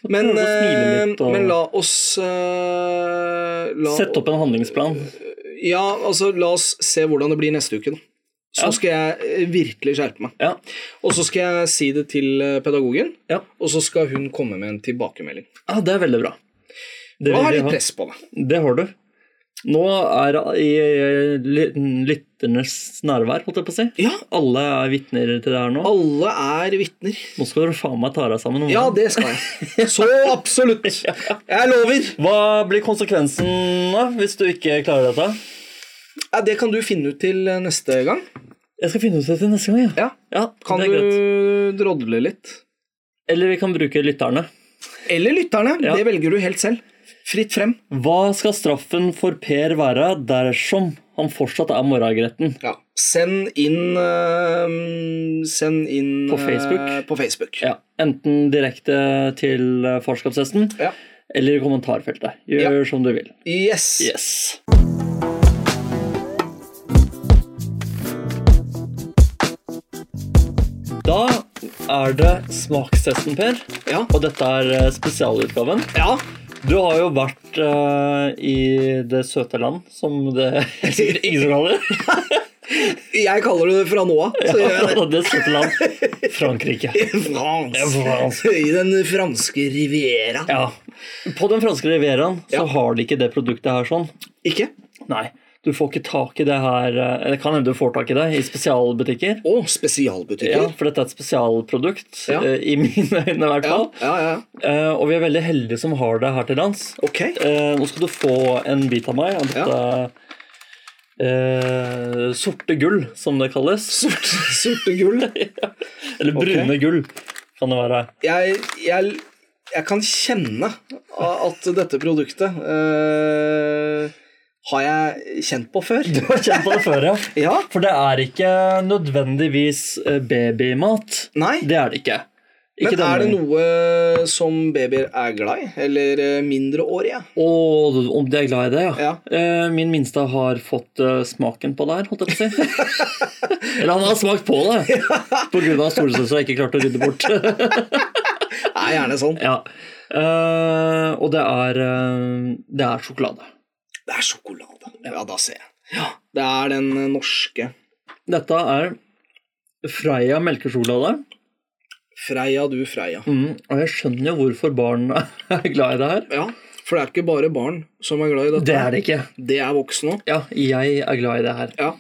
A: Men,
B: prøve å smile
A: eh,
B: litt, og-
A: men la oss eh, la,
B: Sett opp en handlingsplan.
A: Ja, altså, la oss se hvordan det blir neste uke, da. Så
B: Ja.
A: skal jeg eh, virkelig skjerpe meg.
B: Ja.
A: Og så skal jeg si det til eh, pedagogen,
B: Ja.
A: og så skal hun komme med en tilbakemelding.
B: ja, Ah, det er veldig bra. Det,
A: Da
B: vil
A: har
B: vi
A: jeg litt
B: ha.
A: press på deg.
B: det har du. Nå er det i i ly- lytternes nærvær, holdt jeg på å si.
A: Ja,
B: Alle er vitner til det her nå.
A: alle er vitner.
B: Nå skal dere faen meg ta deg sammen. om
A: Ja,
B: det.
A: det skal jeg. Så absolutt. Jeg lover.
B: Hva blir konsekvensen da, hvis du ikke klarer dette?
A: Ja, det kan du finne ut til eh, neste gang.
B: Jeg skal finne ut det til neste gang, ja.
A: Ja.
B: ja
A: Kan
B: det er greit.
A: du drodle litt?
B: Eller vi kan bruke lytterne.
A: Eller lytterne.
B: Ja.
A: Det velger du helt selv. Fritt frem.
B: Hva skal straffen for Per være dersom han fortsatt er morgengretten?
A: Ja. Send inn eh, Send inn
B: På Facebook?
A: eh, på Facebook.
B: Ja, enten direkte til eh, farskapshesten
A: Ja.
B: eller i kommentarfeltet. Gjør som du vil.
A: Yes.
B: Yes. Da er det smakstesten, Per.
A: Ja.
B: Og dette er eh, spesialutgaven.
A: ja.
B: Du har jo vært eh, i det søte land, som det sikkert ingen som kaller det.
A: Jeg kaller det det fra nå av. så gjør jeg det.
B: det søte land. Frankrike.
A: France.
B: France.
A: I den franske riviera.
B: Ja. På den franske rivieraen så
A: Ja.
B: har de ikke det produktet her sånn.
A: Ikke?
B: Nei. Du får ikke tak i det her eh, Det kan hende du får tak i det i spesialbutikker.
A: Å,
B: Ja,
A: spesialbutikker.
B: for dette er et spesialprodukt,
A: Mm. Ja.
B: eh, i mine øyne i hvert
A: Ja.
B: fall.
A: ja, ja, ja.
B: Eh, og vi er veldig heldige som har det her til lands.
A: Ok.
B: Eh, nå skal du få en bit av meg av dette eh, sorte gull, som det kalles.
A: Sort, sorte gull.
B: Eller brune
A: Ok.
B: gull, kan det være.
A: Jeg, jeg, jeg kan kjenne at dette produktet eh, har jeg kjent på før.
B: Du har kjent på det før, ja.
A: Ja.
B: For det er ikke nødvendigvis eh, babymat.
A: Nei.
B: Det er det ikke. ikke
A: Men er det
B: denne-
A: noe som babyer er glad i? Eller eh, mindreårige?
B: Og om de er glad i det, ja.
A: Ja.
B: Eh, Min minste har fått eh, smaken på det her, holdt jeg på å si. Eller han har smakt på det, på grunn av storesøster jeg ikke klarte å rydde bort.
A: Det er gjerne sånn.
B: ja. Eh, og det er, eh, det er sjokolade.
A: Det er sjokolade. Ja, da ser jeg. Det er den eh, norske
B: Dette er Freia melkesjokolade.
A: Freia du Freia.
B: Mm, og jeg skjønner jo hvorfor barn er glad i det her.
A: Ja, for det er ikke bare barn som er glad i dette.
B: Det er det ikke.
A: Det er voksne òg.
B: Ja, jeg er glad i det her.
A: Ja.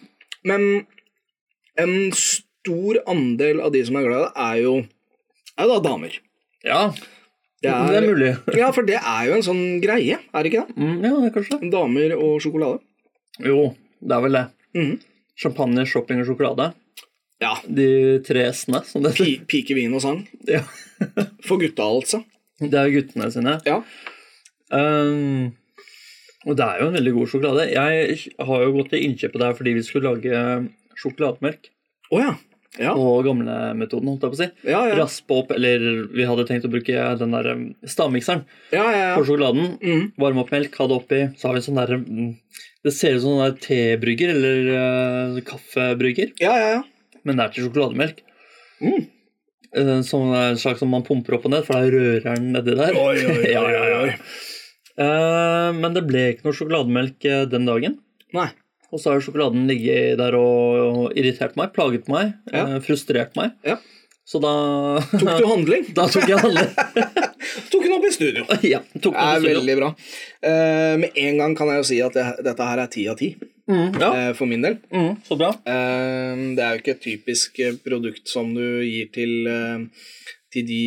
A: Men en stor andel av de som er glad i det, er jo, er jo da damer.
B: Ja,
A: Det
B: det
A: er-
B: er, mulig.
A: Ja, for det er jo en sånn greie, er det ikke det?
B: Mm, ja, kanskje.
A: Damer og sjokolade.
B: Jo, det er vel det.
A: Mhm.
B: Champagne, shopping og sjokolade.
A: Ja.
B: De tre S-ene, som det heter.
A: Pi, pike, vin og sang.
B: Ja.
A: For gutta, altså.
B: Det er jo guttene sine.
A: Ja.
B: Um, og det er jo en veldig god sjokolade. Jeg har jo gått til innkjøpet der fordi vi skulle lage sjokolademelk
A: Å ja. Ja.
B: på gamlemetoden, holdt jeg på å si.
A: Ja, ja.
B: Raspe opp, eller vi hadde tenkt å bruke den der um, stavmikseren
A: ja, ja,
B: på
A: ja.
B: sjokoladen.
A: Mhm.
B: Varme opp melk, ha det oppi. Så har vi en sånn der mm, Det ser ut som en sånn der tebrygger eller eh, kaffebrygger,
A: ja, ja, ja.
B: men det er til sjokolademelk.
A: Mm.
B: Eh, Som er en slags som man pumper opp og ned, for det er røreren nedi der.
A: Oi, oi, oi,
B: Ja, ja, ja.
A: oi.
B: Eh, Men det ble ikke noe sjokolademelk eh, den dagen.
A: Nei.
B: Og så har sjokoladen ligget der og irritert meg, plaget meg,
A: Ja.
B: eh, frustrert meg.
A: Ja.
B: Så da
A: Tok du handling?
B: Da tok jeg alle.
A: Tok hun opp i studio. Det
B: ja, tok meg
A: er
B: til studio.
A: veldig bra. Eh, med en gang kan jeg jo si at det, dette her er ti av ti,
B: Mm, ja.
A: eh, for min del.
B: mm, så bra.
A: Eh, Det er jo ikke et typisk eh, produkt som du gir til, eh, til de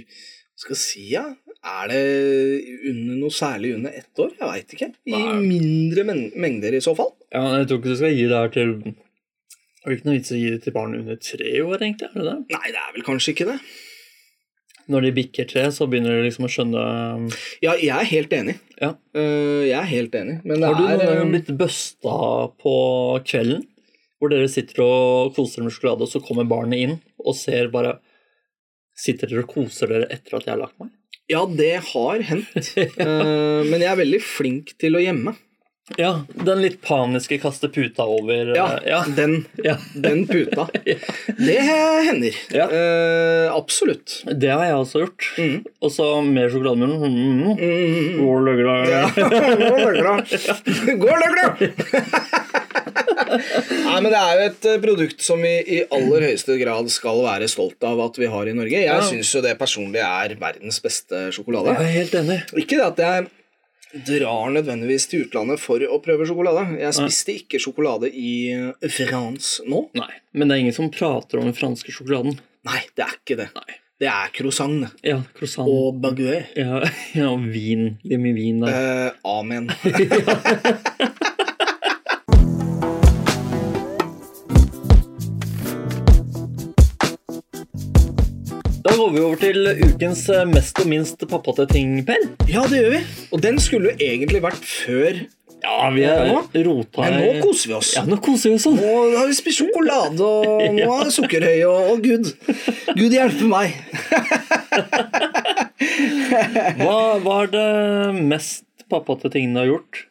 A: Hva skal jeg si, ja? Er det under, noe særlig under ett år? Jeg veit ikke. I
B: Nei.
A: mindre men mengder, i så fall.
B: Ja, men jeg tror ikke du skal gi det her til Det er ikke noe vits å gi det til barn under tre år, egentlig. er det det?
A: Nei, det er vel kanskje ikke det.
B: Når de bikker tre, så begynner de liksom å skjønne
A: Ja, jeg er helt enig.
B: Ja.
A: Eh, Jeg er helt enig. Men det
B: Har du noen
A: er
B: gang
A: eh,
B: blitt bøsta på kvelden? hvor dere sitter og koser med sjokolade, og så kommer barnet inn og ser bare Sitter dere og koser dere etter at jeg har lagt meg?
A: Ja, det har hendt. Eh, men jeg er veldig flink til å gjemme.
B: Ja, den litt paniske kaste puta over
A: Ja,
B: eh, ja.
A: Den,
B: ja.
A: den puta. Det hender.
B: Ja.
A: Eh, absolutt.
B: Det har jeg også gjort.
A: Mhm.
B: Og så mer sjokolademunn. Mm. Mm.
A: Mm.
B: Går løgla.
A: Ja, Gå løgla! Gå løgla! Nei, men Det er jo et eh, produkt som vi i aller høyeste grad skal være stolt av at vi har i Norge.
B: Ja.
A: Jeg syns jo det personlig er verdens beste sjokolade.
B: Jeg er helt enig.
A: Ikke det at jeg drar nødvendigvis til utlandet for å prøve sjokolade. Jeg spiste ikke sjokolade i eh, France nå.
B: Nei, Men det er ingen som prater om den franske sjokoladen.
A: Nei, det er ikke det.
B: Nei.
A: Det er croissant det.
B: Ja, croissant.
A: og baguette.
B: Ja, ja vin. Det er mye vin der.
A: Eh, amen.
B: Da går vi over til ukens eh, mest og minst pappate ting, Per.
A: Ja, det gjør vi. Og den skulle jo egentlig vært før.
B: Ja, vi er
A: Nå?
B: rota
A: Men
B: i-
A: nå koser vi oss.
B: Ja, nå koser vi oss sånn.
A: Nå har vi spist sjokolade, og nå er det sukkerhøy, og, og gud. Gud hjelpe meg.
B: Hva var det mest pappate tingen du har gjort?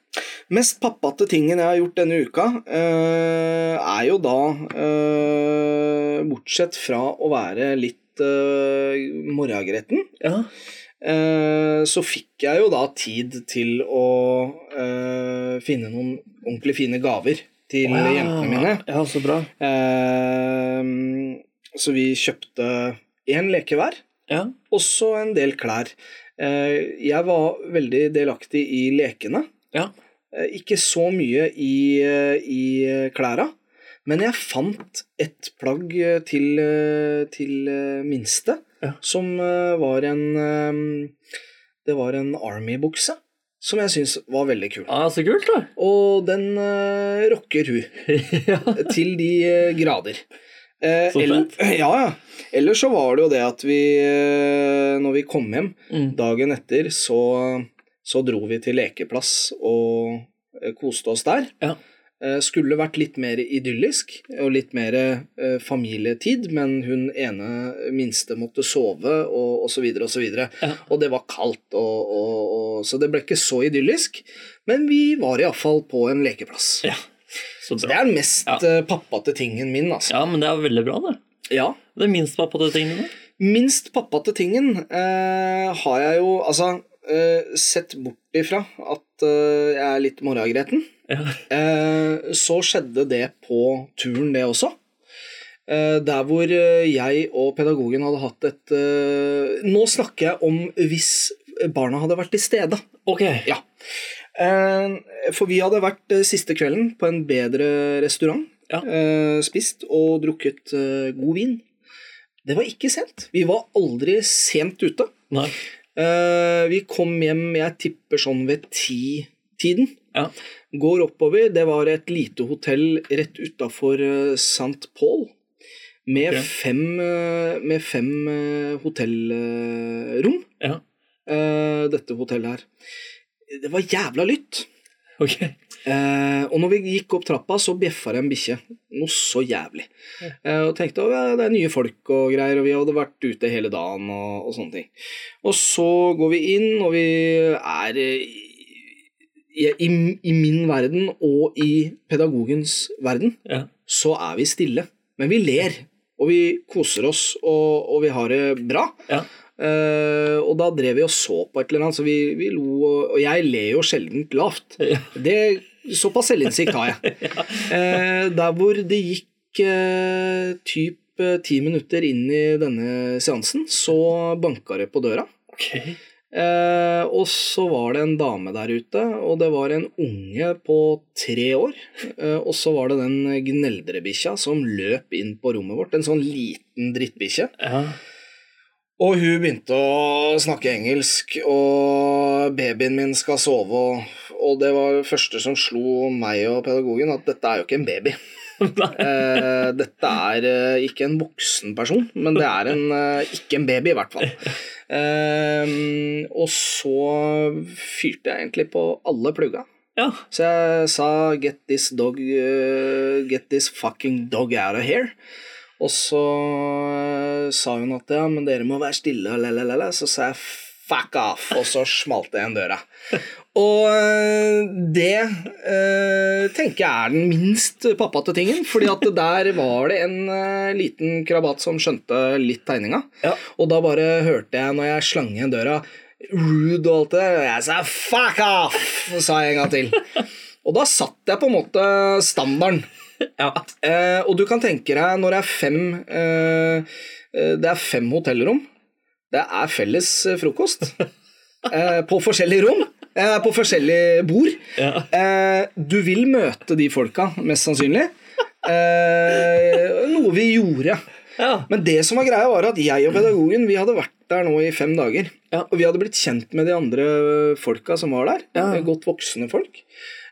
A: Mest pappate tingen jeg har gjort denne uka, eh, er jo da eh, Bortsett fra å være litt uh, morgengretten,
B: Ja.
A: eh, så fikk jeg jo da tid til å eh, finne noen ordentlig fine gaver til jentene mine.
B: Ja, så bra.
A: Eh, så vi kjøpte én leke hver,
B: Ja.
A: også en del klær. Eh, jeg var veldig delaktig i lekene.
B: Ja.
A: Eh, Ikke så mye i, eh, i eh, klæra, men jeg fant et plagg eh, til, eh, til eh, minste,
B: Ja.
A: som eh, var en eh, Det var en Army-bukse, som jeg syns var veldig kul.
B: ja, så kult, da.
A: Og den eh, rocker hun
B: ja.
A: til de eh, grader. Eh,
B: Så
A: ell- ja, ja. Ellers så var det jo det at vi, eh, når vi kom hjem,
B: Mm.
A: Dagen etter så, så dro vi til lekeplass og eh, koste oss der.
B: Ja.
A: Eh, Skulle vært litt mer idyllisk og litt mer eh, familietid, men hun ene minste måtte sove og osv. Og, så videre.
B: Ja.
A: og det var kaldt, og, og, og, så det ble ikke så idyllisk. Men vi var iallfall på en lekeplass.
B: Ja. Så
A: Det
B: bra.
A: er den mest
B: Ja.
A: eh, pappate tingen min, altså.
B: Ja, men det er veldig bra, det.
A: ja.
B: Det er minst pappate tingene.
A: Minst pappate tingen eh, har jeg jo altså eh, sett bort ifra at eh, jeg er litt morgengretten.
B: Ja.
A: Eh, så skjedde det på turen, det også. Eh, der hvor eh, jeg og pedagogen hadde hatt et eh, Nå snakker jeg om hvis barna hadde vært til stede.
B: Ok.
A: Ja. Eh, For vi hadde vært eh, siste kvelden på en bedre restaurant.
B: Ja.
A: eh, Spist og drukket eh, god vin. Det var ikke sent. Vi var aldri sent ute.
B: Nei.
A: Eh, Vi kom hjem, jeg tipper sånn ved ti-tiden.
B: Ja.
A: Går oppover. Det var et lite hotell rett utafor St. Paul. Med,
B: Ok.
A: fem, eh, med fem eh, hotellrom.
B: Ja.
A: eh, Dette hotellet her. Det var jævla lytt.
B: Ok.
A: Eh, og når vi gikk opp trappa, så bjeffa det en bikkje. Noe så jævlig.
B: Ja.
A: Eh, og tenkte at det er nye folk og greier, og vi hadde vært ute hele dagen og, og sånne ting. Og så går vi inn, og vi er eh, i, i, I min verden og i pedagogens verden
B: Ja.
A: så er vi stille. Men vi ler, og vi koser oss, og, og vi har det bra.
B: Ja.
A: Eh, og da drev vi og så på et eller annet, så vi, vi lo, og, og jeg ler jo sjelden lavt.
B: Ja.
A: Det, såpass selvinnsikt har jeg. Eh, der hvor det gikk eh, typ eh, ti minutter inn i denne seansen, så banka det på døra.
B: Ok.
A: Eh, og så var det en dame der ute, og det var en unge på tre år. Eh, og så var det den gneldrebikkja som løp inn på rommet vårt. En sånn liten drittbikkje.
B: Ja.
A: Og hun begynte å snakke engelsk, og babyen min skal sove, og, og det var det første som slo meg og pedagogen, at dette er jo ikke en baby.
B: Nei.
A: Eh, dette er eh, ikke en voksen person, men det er en, eh, ikke en baby, i hvert fall. Eh, og så fyrte jeg egentlig på alle plugga.
B: Ja.
A: Så jeg sa 'get this dog eh, Get this fucking dog out of here'. Og så eh, sa hun at 'ja, men dere må være stille', og lalalala. Så sa jeg 'fuck off', og så smalt det igjen døra. Og eh, det eh, tenker jeg er den minst pappate tingen, fordi at der var det en eh, liten krabat som skjønte litt tegninga.
B: Ja.
A: Og da bare hørte jeg, når jeg slang igjen døra, rude og alt det der, og jeg sa 'fuck off', sa jeg en gang til. Og da satt jeg på en måte standarden.
B: ja.
A: Eh, og du kan tenke deg når det er fem eh, eh, Det er fem hotellrom. Det er felles eh, frokost. Eh, på forskjellige rom. Eh, på forskjellige bord.
B: Ja.
A: Eh, du vil møte de folka, mest sannsynlig. Eh, noe vi gjorde.
B: Ja.
A: Men det som var greia, var at jeg og pedagogen vi hadde vært der nå i fem dager.
B: Ja.
A: Og vi hadde blitt kjent med de andre folka som var der.
B: Ja.
A: Godt voksne folk.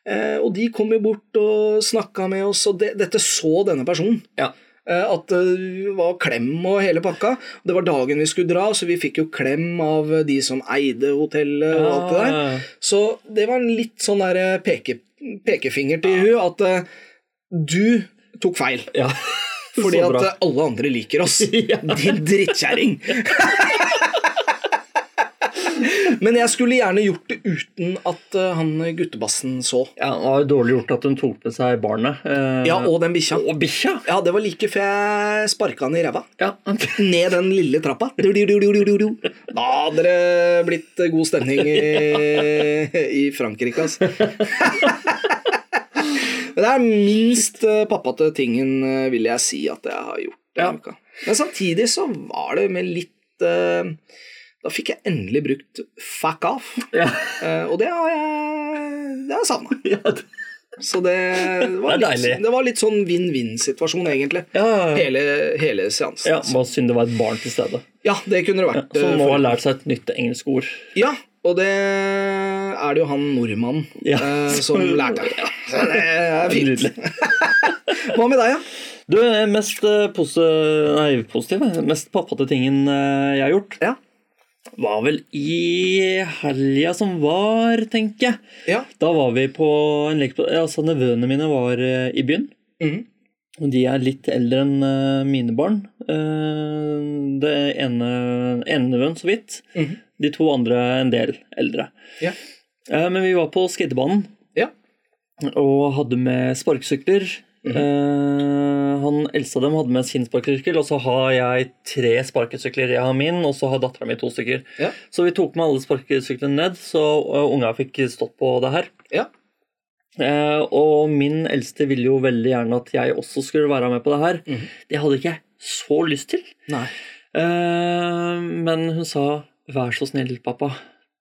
A: Eh, og de kom jo bort og snakka med oss, og det, dette så denne personen.
B: Ja.
A: Eh, At det var klem og hele pakka. Det var dagen vi skulle dra, så vi fikk jo klem av de som eide hotellet. og alt det der.
B: Ja.
A: Så det var en litt sånn der eh, peke, pekefinger til hun at eh, du tok feil.
B: Ja.
A: Fordi
B: Så
A: at
B: bra.
A: eh, alle andre liker oss.
B: Ja.
A: Din drittkjerring! Men jeg skulle gjerne gjort det uten at eh, han guttebassen så.
B: Ja, det var jo dårlig gjort at hun tok med seg barnet. eh,
A: Ja, og den bikkja.
B: og bikkja!
A: Ja, det var like før jeg sparka han i ræva.
B: Ja.
A: Ned den lille trappa. Du, du, du, du, du, du, du. Da hadde det blitt god stemning i, i Frankrike, altså. Men det er minst eh, pappate tingen, eh, vil jeg si, at jeg har gjort. denne
B: Ja.
A: uka. Men samtidig så var det med litt eh, Da fikk jeg endelig brukt fuck off,
B: ja.
A: eh, og det har jeg det har jeg savna.
B: ja. det-
A: Så det var
B: Det er
A: litt,
B: deilig.
A: det var litt sånn vinn-vinn-situasjon, egentlig.
B: ja. ja.
A: Hele, hele seansen.
B: Ja, sånn Bare synd det var et barn til stede.
A: Ja, det kunne det vært.
B: Som
A: eh,
B: nå
A: for-
B: har lært seg et nytt engelsk ord.
A: Ja, og det er det jo han nordmannen
B: Ja.
A: eh, som lærte det. Så det er fint.
B: Nydelig.
A: Hva med deg, da?
B: Du, mest eh, posi nei, positiv Mest pappate tingen eh, jeg har gjort,
A: Ja.
B: var vel i helga som var, tenker jeg.
A: Ja.
B: Da var vi på en lek på Altså, nevøene mine var eh, i byen.
A: Mhm.
B: Og de er litt eldre enn eh, mine barn. Eh, Det ene ene nevøen så vidt.
A: Mhm.
B: De to andre en del eldre.
A: Ja.
B: Eh, Men vi var på skatebanen
A: Ja.
B: og hadde med sparkesykler.
A: Mhm.
B: Eh, han eldste av dem hadde med sin sparkesykkel, og så har jeg tre sparkesykler. Jeg har min, og så har dattera mi to stykker.
A: Ja.
B: Så vi tok med alle sparkesyklene ned, så eh, unga fikk stått på det her.
A: Ja.
B: Eh, og min eldste ville jo veldig gjerne at jeg også skulle være med på det her.
A: Mhm.
B: Det hadde ikke jeg så lyst til.
A: Nei.
B: Eh, men hun sa 'vær så snill, pappa'.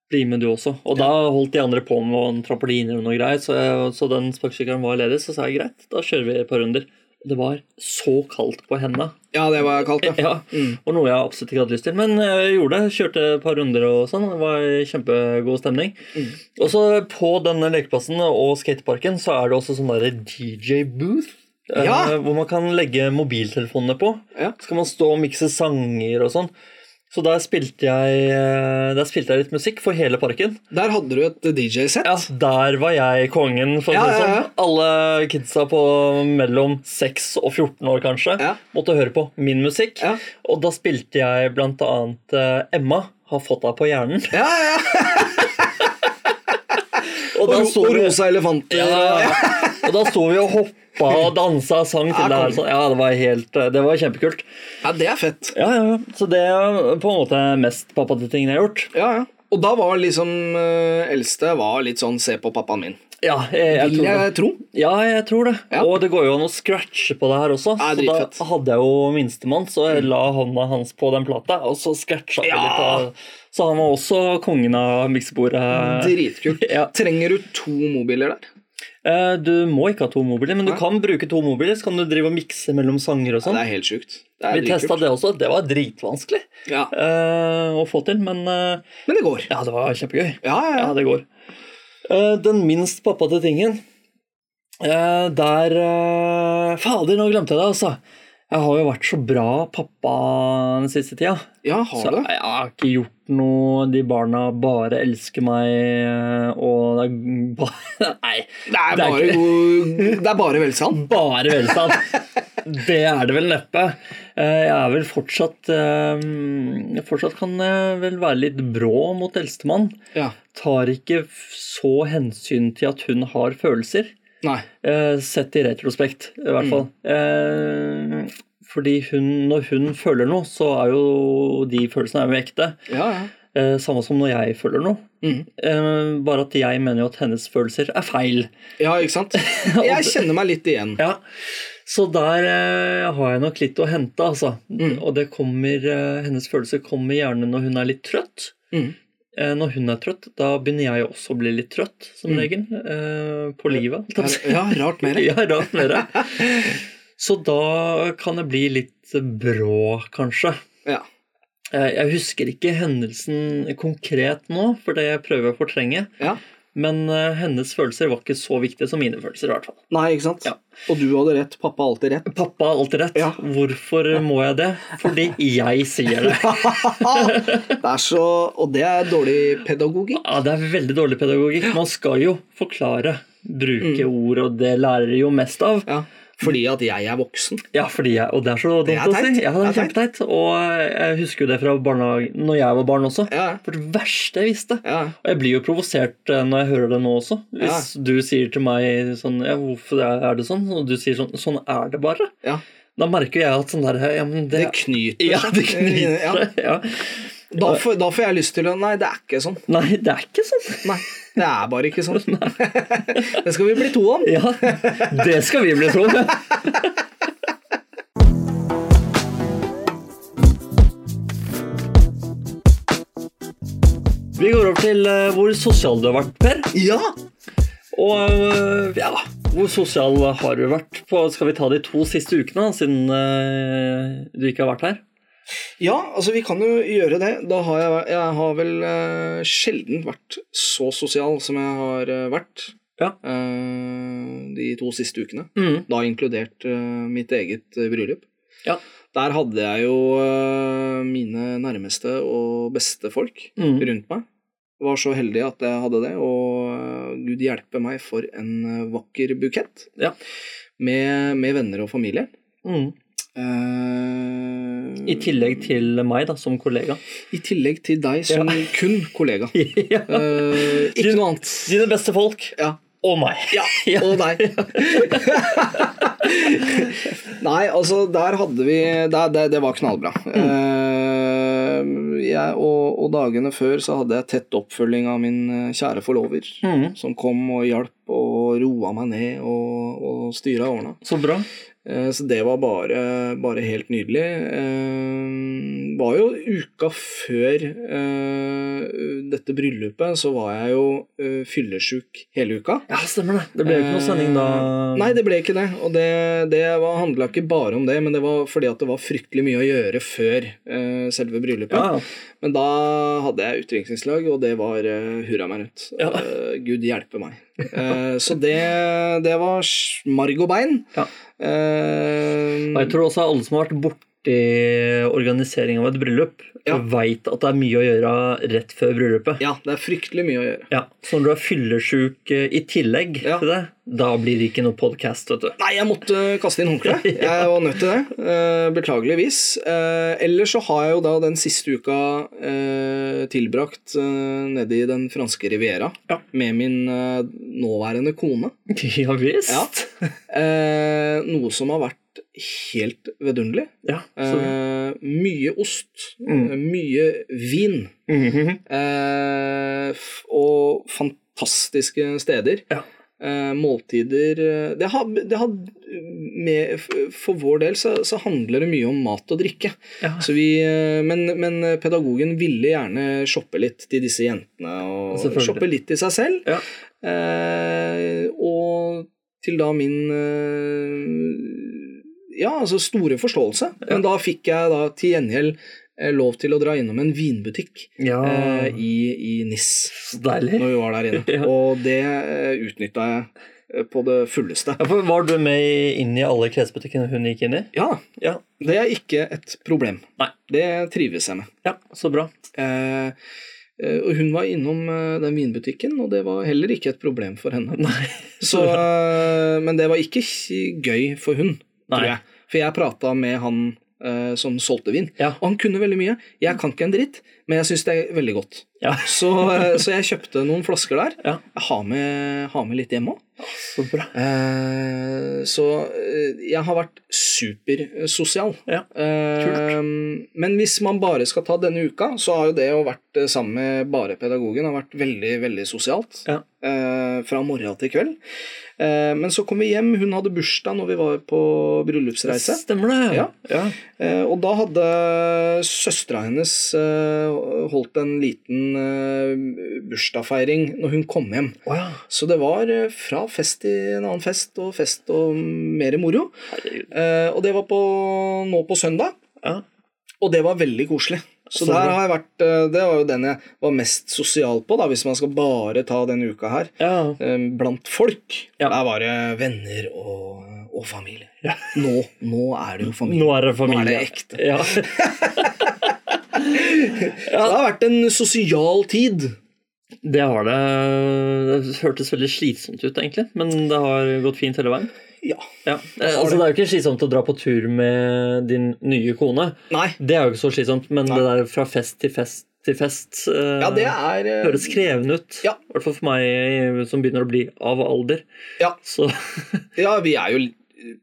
B: Bli med du også. Og da holdt de andre på med en trampoline og noe greier, så, jeg, så den sparkesykkelen var ledig. Så sa jeg greit, da kjører vi et par runder. Det var så kaldt på henda.
A: Ja, det var kaldt, ja.
B: Ja,
A: Mm.
B: og noe jeg absolutt ikke hadde lyst til. Men eh, jeg gjorde det. Kjørte et par runder og sånn. Det var kjempegod stemning.
A: Mm.
B: Og så på denne lekeplassen og skateparken så er det også sånn derre DJ-booth. eh,
A: Ja.
B: Hvor man kan legge mobiltelefonene på.
A: Ja.
B: Så kan man stå og mikse sanger og sånn. Så der spilte jeg, eh, der spilte jeg litt musikk for hele parken.
A: Der hadde du et DJ-sett.
B: Ja, der var jeg kongen, for å
A: Ja,
B: si det
A: ja, ja.
B: sånn. Alle kidsa på mellom 6 og 14 år, kanskje,
A: Ja.
B: måtte høre på min musikk.
A: Ja.
B: Og da spilte jeg blant annet eh, Emma har fått deg på hjernen.
A: Ja, ja, ja.
B: Og
A: Og,
B: da
A: ro
B: sto
A: og
B: vi,
A: rosa elefanter.
B: ja, og da sto vi og hoppa og dansa og sang
A: Ja,
B: til det her.
A: kongen.
B: Så, ja, det var, helt, eh, det var kjempekult.
A: Ja, det er fett.
B: Ja, ja, ja. Så det er på en måte mest pappa-tingen jeg har gjort.
A: Ja, ja. Og da var liksom eh, eldste var litt sånn 'se på pappaen min'.
B: Ja, jeg, jeg
A: Vil
B: tror det.
A: jeg tro.
B: Ja, jeg tror det.
A: Ja.
B: Og det går jo an å scratche på det her også.
A: Ja,
B: så
A: dritfett. Mm.
B: da hadde jeg jo minstemann, så jeg la hånda hans på den plata, og så scratcha vi
A: Ja.
B: litt. av- Så han var også kongen av miksebordet.
A: Dritkult.
B: Eh, Ja.
A: Trenger du to mobiler der?
B: Eh, Du må ikke ha to mobiler, men du
A: Nei.
B: kan bruke to mobiler, så kan du drive og mikse mellom sanger
A: Ja,
B: og sånn.
A: det er helt sjukt. Det er
B: vi testa
A: dritkult.
B: det også. Det var dritvanskelig
A: Ja.
B: eh, å få til, men eh,
A: Men det går.
B: ja, det var kjempegøy.
A: Ja, ja,
B: Ja, det går. Eh, den minst pappate tingen eh, Der eh, Fader, nå glemte jeg det, altså. Jeg har jo vært så bra pappa den siste tida.
A: Ja,
B: Så
A: har du?
B: jeg har ikke gjort noe. De barna bare elsker meg, eh, og det er bare Nei.
A: Det er
B: det er
A: bare
B: ikke-
A: god Det er bare velstand.
B: Bare velstand. Det er det vel neppe. Eh, Jeg er vel fortsatt eh, jeg Fortsatt kan jeg vel være litt brå mot eldstemann.
A: Ja.
B: Tar ikke f- så hensyn til at hun har følelser.
A: Nei.
B: Eh, Sett i retrospekt, i hvert fall. Eh, Fordi hun, når hun føler noe, så er jo de følelsene er jo ekte.
A: Ja, ja.
B: Eh, Samme som når jeg føler noe.
A: Mhm.
B: Eh, Bare at jeg mener jo at hennes følelser er feil.
A: Ja, ikke sant? Jeg kjenner meg litt igjen.
B: Ja, så der eh, har jeg nok litt å hente, altså.
A: Mm.
B: Og det kommer, eh, hennes følelser kommer gjerne når hun er litt trøtt.
A: Mm.
B: Eh, når hun er trøtt, da begynner jeg også å bli litt trøtt, som regel. Eh, på livet. holdt jeg på å si.
A: Mm. Ja, rart mer.
B: ja, rart med det. Så da kan jeg bli litt brå, kanskje.
A: Ja.
B: Eh, jeg husker ikke hendelsen konkret nå, for det prøver jeg å fortrenge.
A: ja.
B: Men eh, hennes følelser var ikke så viktige som mine følelser, i hvert fall.
A: Nei, ikke sant?
B: Ja.
A: Og du hadde rett. Pappa har alltid rett.
B: Pappa har alltid rett.
A: Ja.
B: Hvorfor må jeg det? Fordi jeg sier det.
A: det er så, og det er dårlig pedagogikk.
B: Ja, det er veldig dårlig pedagogikk. Man skal jo forklare, bruke
A: Mm.
B: ord, og det lærer de jo mest av.
A: Ja. Fordi at jeg er voksen.
B: Ja, fordi jeg, Og det er så dumt
A: Det er
B: å
A: teit.
B: si. Ja, det er
A: Det er
B: kjempeteit. Og jeg husker jo det fra barnehagen, når jeg var barn også.
A: Ja,
B: For det verste jeg visste.
A: ja.
B: Og jeg blir jo provosert eh, når jeg hører det nå også. Hvis du sier til meg sånn Ja, hvorfor er det sånn? Og du sier sånn Sånn er det bare.
A: ja.
B: Da merker jeg at sånn der Ja, men
A: Det
B: det,
A: knyter
B: ja, det
A: Ja.
B: knyter seg. Ja.
A: Da, får, da får jeg lyst til å Nei, det er ikke sånn.
B: Nei, det er ikke sånn.
A: Nei, det er bare ikke sånn. det skal vi bli to om.
B: Ja, det skal vi bli tro. Vi går over til eh, hvor sosial du har vært, Per.
A: Ja!
B: Og eh, ja, hvor sosial har du vært? På, skal vi ta de to siste ukene, da, siden eh, du ikke har vært her?
A: Ja, altså vi kan jo gjøre det. Da har jeg, jeg har vel eh, sjelden vært så sosial som jeg har eh, vært
B: Ja.
A: eh, de to siste ukene.
B: Mm.
A: Da inkludert eh, mitt eget eh, bryllup.
B: Ja.
A: Der hadde jeg jo eh, mine nærmeste og beste folk
B: Mm.
A: rundt meg. Var så heldig at jeg hadde det, og eh, gud hjelpe meg for en eh, vakker bukett
B: Ja.
A: med, med venner og familie.
B: Mm.
A: Eh,
B: I tillegg til meg, da, som kollega.
A: I tillegg til deg som kun kollega.
B: ja.
A: Eh, ikke noe annet.
B: Dine beste folk
A: Ja.
B: og meg.
A: Ja, og deg. Nei, altså, der hadde vi der, det, det var knallbra.
B: Mm.
A: Eh, jeg, og, og dagene før så hadde jeg tett oppfølging av min eh, kjære forlover,
B: Mm.
A: som kom og hjalp og roa meg ned og, og styra og ordna.
B: Så bra.
A: Eh, Så det var bare, bare helt nydelig. Eh, var jo uka før eh, dette bryllupet, så var jeg jo eh, fyllesyk hele uka.
B: Ja, stemmer det. Det ble jo ikke noe sending da.
A: Eh, Nei, det ble ikke det. Og det, det var- handla ikke bare om det, men det var fordi at det var fryktelig mye å gjøre før eh, selve bryllupet.
B: ja. ja.
A: Men da hadde jeg utdrikningslag, og det var eh, hurra meg rundt.
B: Ja.
A: Eh, Gud hjelpe meg. Eh, så det, det var sj- marg og bein.
B: Ja.
A: Eh,
B: Og jeg tror også alle som har vært borti organisering av et bryllup,
A: Ja.
B: veit at det er mye å gjøre rett før bryllupet.
A: ja, det er fryktelig mye å gjøre.
B: Så når du er fyllesyk eh, i tillegg
A: Ja.
B: til det, da blir det ikke noe podkast, vet du.
A: Nei, jeg måtte kaste inn håndkleet. Jeg var nødt til det. eh, Beklageligvis. Eh, Ellers så har jeg jo da den siste uka eh, tilbrakt eh, nede i den franske riviera
B: Ja.
A: med min eh, nåværende kone.
B: Ja visst.
A: Ja. Eh, Noe som har vært helt vidunderlig.
B: Ja, så bra.
A: Eh, Mye ost,
B: Mm.
A: eh, mye vin
B: Mhm.
A: eh, f- og fantastiske steder.
B: Ja.
A: Eh, måltider eh, det har, det har med, f- For vår del så, så handler det mye om mat og drikke.
B: ja.
A: Så vi, eh, men, men pedagogen ville gjerne shoppe litt til disse jentene. Og
B: Selvfølgelig.
A: shoppe litt til seg selv.
B: Ja.
A: Eh, og til da min eh, Ja, altså store forståelse. Men da fikk jeg da til gjengjeld eh, lov til å dra innom en vinbutikk
B: ja.
A: eh, i, i NIS
B: Så deilig.
A: når vi var der inne.
B: Ja.
A: Og det eh, utnytta jeg eh, på det fulleste.
B: Ja, for var du med inn i alle klesbutikkene hun gikk inn i?
A: Ja,
B: Ja.
A: det er ikke et problem.
B: Nei.
A: Det trives jeg med.
B: ja så bra.
A: Eh, eh, og hun var innom eh, den vinbutikken, og det var heller ikke et problem for henne.
B: Nei.
A: Så, eh, men det var ikke k- gøy for hun, tror
B: Nei.
A: jeg. For jeg prata med han eh, som solgte vin,
B: Ja.
A: og han kunne veldig mye. Jeg kan ikke en dritt, men jeg syns det er veldig godt.
B: Ja.
A: Så, eh, så jeg kjøpte noen flasker der.
B: Ja.
A: Jeg har med, har med litt hjemme òg.
B: Så bra.
A: Eh, så eh, jeg har vært supersosial.
B: Ja.
A: Eh, men hvis man bare skal ta denne uka, så har jo det å vært eh, sammen med bare pedagogen har vært veldig, veldig sosialt.
B: Ja.
A: Eh, fra morgen til kveld. Eh, men så kom vi hjem, hun hadde bursdag når vi var på bryllupsreise.
B: Stemmer det.
A: Ja.
B: ja.
A: Eh, og da hadde søstera hennes eh, holdt en liten eh, bursdagsfeiring når hun kom hjem.
B: Å ja.
A: Så det var eh, fra fest til en annen fest, og fest og mer moro.
B: Herregud.
A: Eh, og det var på, nå på søndag,
B: Ja.
A: og det var veldig koselig. Så,
B: Så
A: der
B: bra.
A: har jeg vært, eh, det var jo den jeg var mest sosial på, da, hvis man skal bare ta denne uka her.
B: ja.
A: eh, Blant folk.
B: Ja.
A: Der var det venner og, og familie.
B: Ja.
A: Nå, nå er det jo familie.
B: Nå er det familie.
A: Nå er det ekte.
B: Ja.
A: Så det har vært en sosial tid.
B: Det har det. Det hørtes veldig slitsomt ut, egentlig, men det har gått fint hele veien.
A: Ja.
B: Ja. Eh, Altså, det er jo ikke slitsomt å dra på tur med din nye kone.
A: Nei.
B: Det er jo ikke så slitsomt, men
A: Nei.
B: det der fra fest til fest til fest eh,
A: Ja, det er eh,
B: høres krevende ut.
A: Ja.
B: I hvert fall for meg eh, som begynner å bli av alder.
A: Ja.
B: Så
A: Ja, vi er jo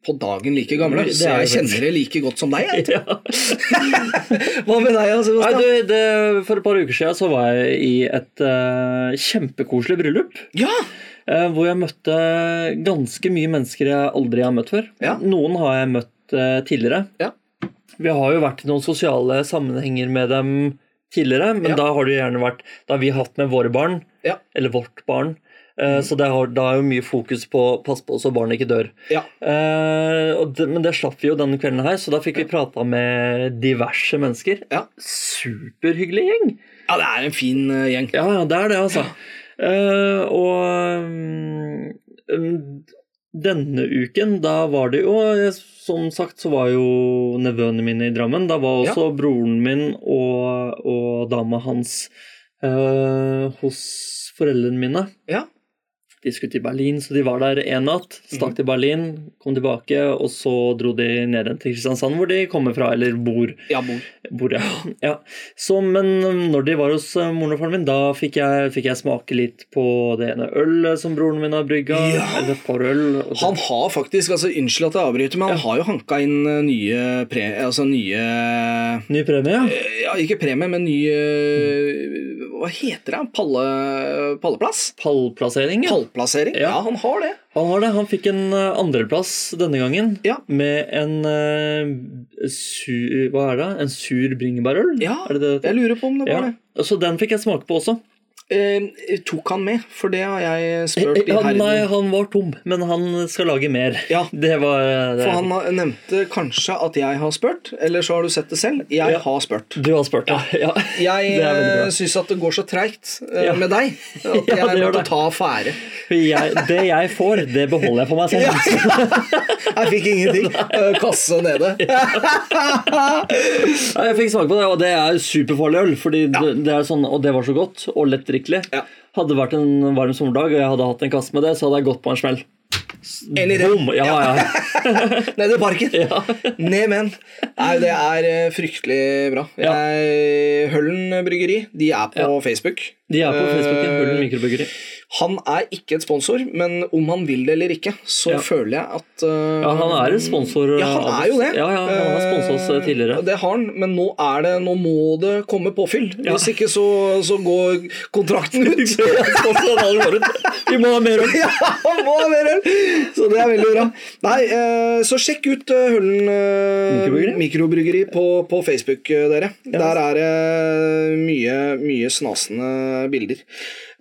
A: på dagen like gamle,
B: Det
A: så
B: er
A: jeg
B: jo
A: kjenner det like godt som deg. Jeg.
B: ja.
A: Hva med deg, altså?
B: Nei, du, det, For et par uker siden så var jeg i et eh, kjempekoselig bryllup.
A: Ja!
B: Eh, hvor jeg møtte ganske mye mennesker jeg aldri har møtt før.
A: Ja.
B: Noen har jeg møtt eh, tidligere.
A: Ja.
B: Vi har jo vært i noen sosiale sammenhenger med dem tidligere, men
A: Ja.
B: da har det jo gjerne vært Da har vi hatt med våre barn,
A: Ja.
B: eller vårt barn.
A: Mm.
B: Eh, Så det har, da er jo mye fokus på å passe på så barnet ikke dør.
A: Ja.
B: Eh, og det, men det slapp vi jo denne kvelden her, så da fikk vi prata med diverse mennesker.
A: Ja.
B: Superhyggelig gjeng!
A: ja, det er en fin eh, gjeng.
B: Ja, ja, det er det, altså. Eh, og mm, mm, denne uken, da var det jo eh, Som sagt så var jo nevøene mine i Drammen. Da var også broren min og, og dama hans eh, hos foreldrene mine.
A: Ja.
B: De skulle til Berlin, så de var der en natt. Stakk til Berlin, kom tilbake, og så dro de ned igjen til Kristiansand, hvor de kommer fra, eller bor.
A: Ja, mor.
B: Bor jeg, ja. Så, men når de var hos eh, moren og faren min, da fikk jeg, fikk jeg smake litt på det ene ølet som broren min har brygga.
A: Ja.
B: Eller et par øl. og det-
A: Han har faktisk, altså Unnskyld at jeg avbryter, men han har jo hanka inn eh, nye pre... Altså nye
B: Ny premie? ja.
A: eh, Ja, ikke premie, men ny eh, Hva heter det? Palle, palleplass?
B: Pallplassering, ja.
A: Pallplassering?
B: Ja.
A: Ja, han har det.
B: Han har det. Han fikk en eh, andreplass denne gangen
A: Ja.
B: med en eh, sur Hva er det? En sur bringebærøl?
A: Ja,
B: er det det?
A: Jeg lurer på om det
B: Ja.
A: var det.
B: Så den fikk jeg smake på også.
A: Eh, tok han med? For det har jeg spurt i
B: Eh, Han, nei,
A: herden.
B: han var tom, men han skal lage mer.
A: Ja,
B: Det var eh, det.
A: For han har- nevnte kanskje at jeg har spurt, eller så har du sett det selv. Jeg
B: Ja.
A: har spurt.
B: Du har spurt, ja. ja. Det er veldig bra.
A: Jeg syns at det går så treigt eh,
B: Ja.
A: med deg. At
B: Ja,
A: jeg
B: det gjør
A: måtte
B: det.
A: ta affære.
B: For jeg, det jeg får, det beholder jeg for meg selv.
A: Jeg fikk ingenting. Eh, Kasse nede.
B: Ja, Jeg fikk smake på det, og det er superfarlig øl. Fordi det, det er sånn, og det var så godt og lettdrikkelig.
A: Ja.
B: Hadde det vært en varm sommerdag og jeg hadde hatt en kasse med det, så hadde jeg gått på en smell.
A: Enig i det.
B: Boom! Ja, ja.
A: Ned i parken. Ned med den. Nei, det er eh, fryktelig bra.
B: Ja.
A: Jeg, Høllen bryggeri, de er på Facebook.
B: De er på Facebook.
A: Eh,
B: Høllen mikrobryggeri.
A: Han er ikke et sponsor, men om han vil det eller ikke, så
B: Ja.
A: føler jeg at eh,
B: Ja, han er en sponsor.
A: Ja, han
B: av oss.
A: er jo det.
B: Ja, ja, han har sponset oss eh, tidligere.
A: Eh, Det har han, men nå er det Nå må det komme påfyll.
B: Ja.
A: Hvis ikke så, så går kontrakten ut.
B: Sponsoren alle går ut. Vi må ha mer øl.
A: ja, han må ha mer øl! Så det er veldig bra. Nei, eh, så sjekk ut eh, Høllen eh,
B: Mikrobryggeri? altså.
A: mikrobryggeri på, på Facebook, eh, dere. Der er det eh, mye, mye snasende bilder.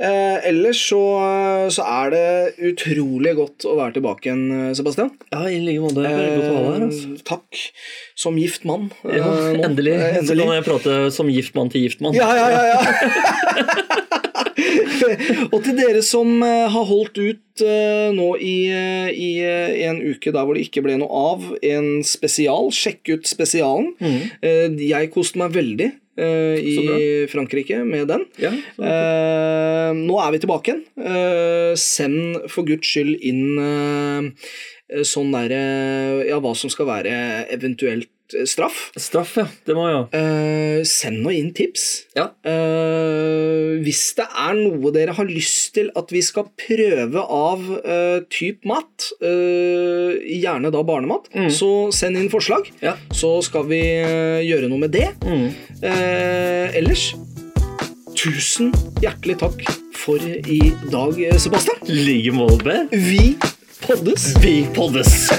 A: Eh, ellers så, eh, så er det utrolig godt å være tilbake igjen, eh, Sebastian.
B: Ja, i like måte. Veldig godt å ha deg her. Altså.
A: Eh, Takk. Som gift mann. eh,
B: Ja,
A: nå.
B: endelig.
A: Eh,
B: Så
A: endelig.
B: kan jeg prate som giftmann til giftmann.
A: Ja, ja, ja, ja. Og til dere som eh, har holdt ut eh, nå i, eh, i eh, en uke der hvor det ikke ble noe av, en spesial, sjekk ut spesialen. Eh, Jeg koste meg veldig eh,
B: Mhm. Så
A: i Frankrike med den.
B: Ja, så-
A: Eh, nå er vi tilbake igjen. Eh, send for guds skyld inn eh, sånn derre Ja, hva som skal være eventuelt eh, straff.
B: straff, ja. Det må jo
A: Eh, send nå inn tips.
B: Ja.
A: Eh, hvis det er noe dere har lyst til at vi skal prøve av eh, typ mat, eh, gjerne da barnemat,
B: Mm.
A: så send inn forslag.
B: Ja.
A: Så skal vi eh, gjøre noe med det.
B: Mm.
A: Eh, ellers, tusen hjertelig takk for i dag, eh, Sebastian.
B: Like måte.
A: Vi poddes.
B: Vi poddes!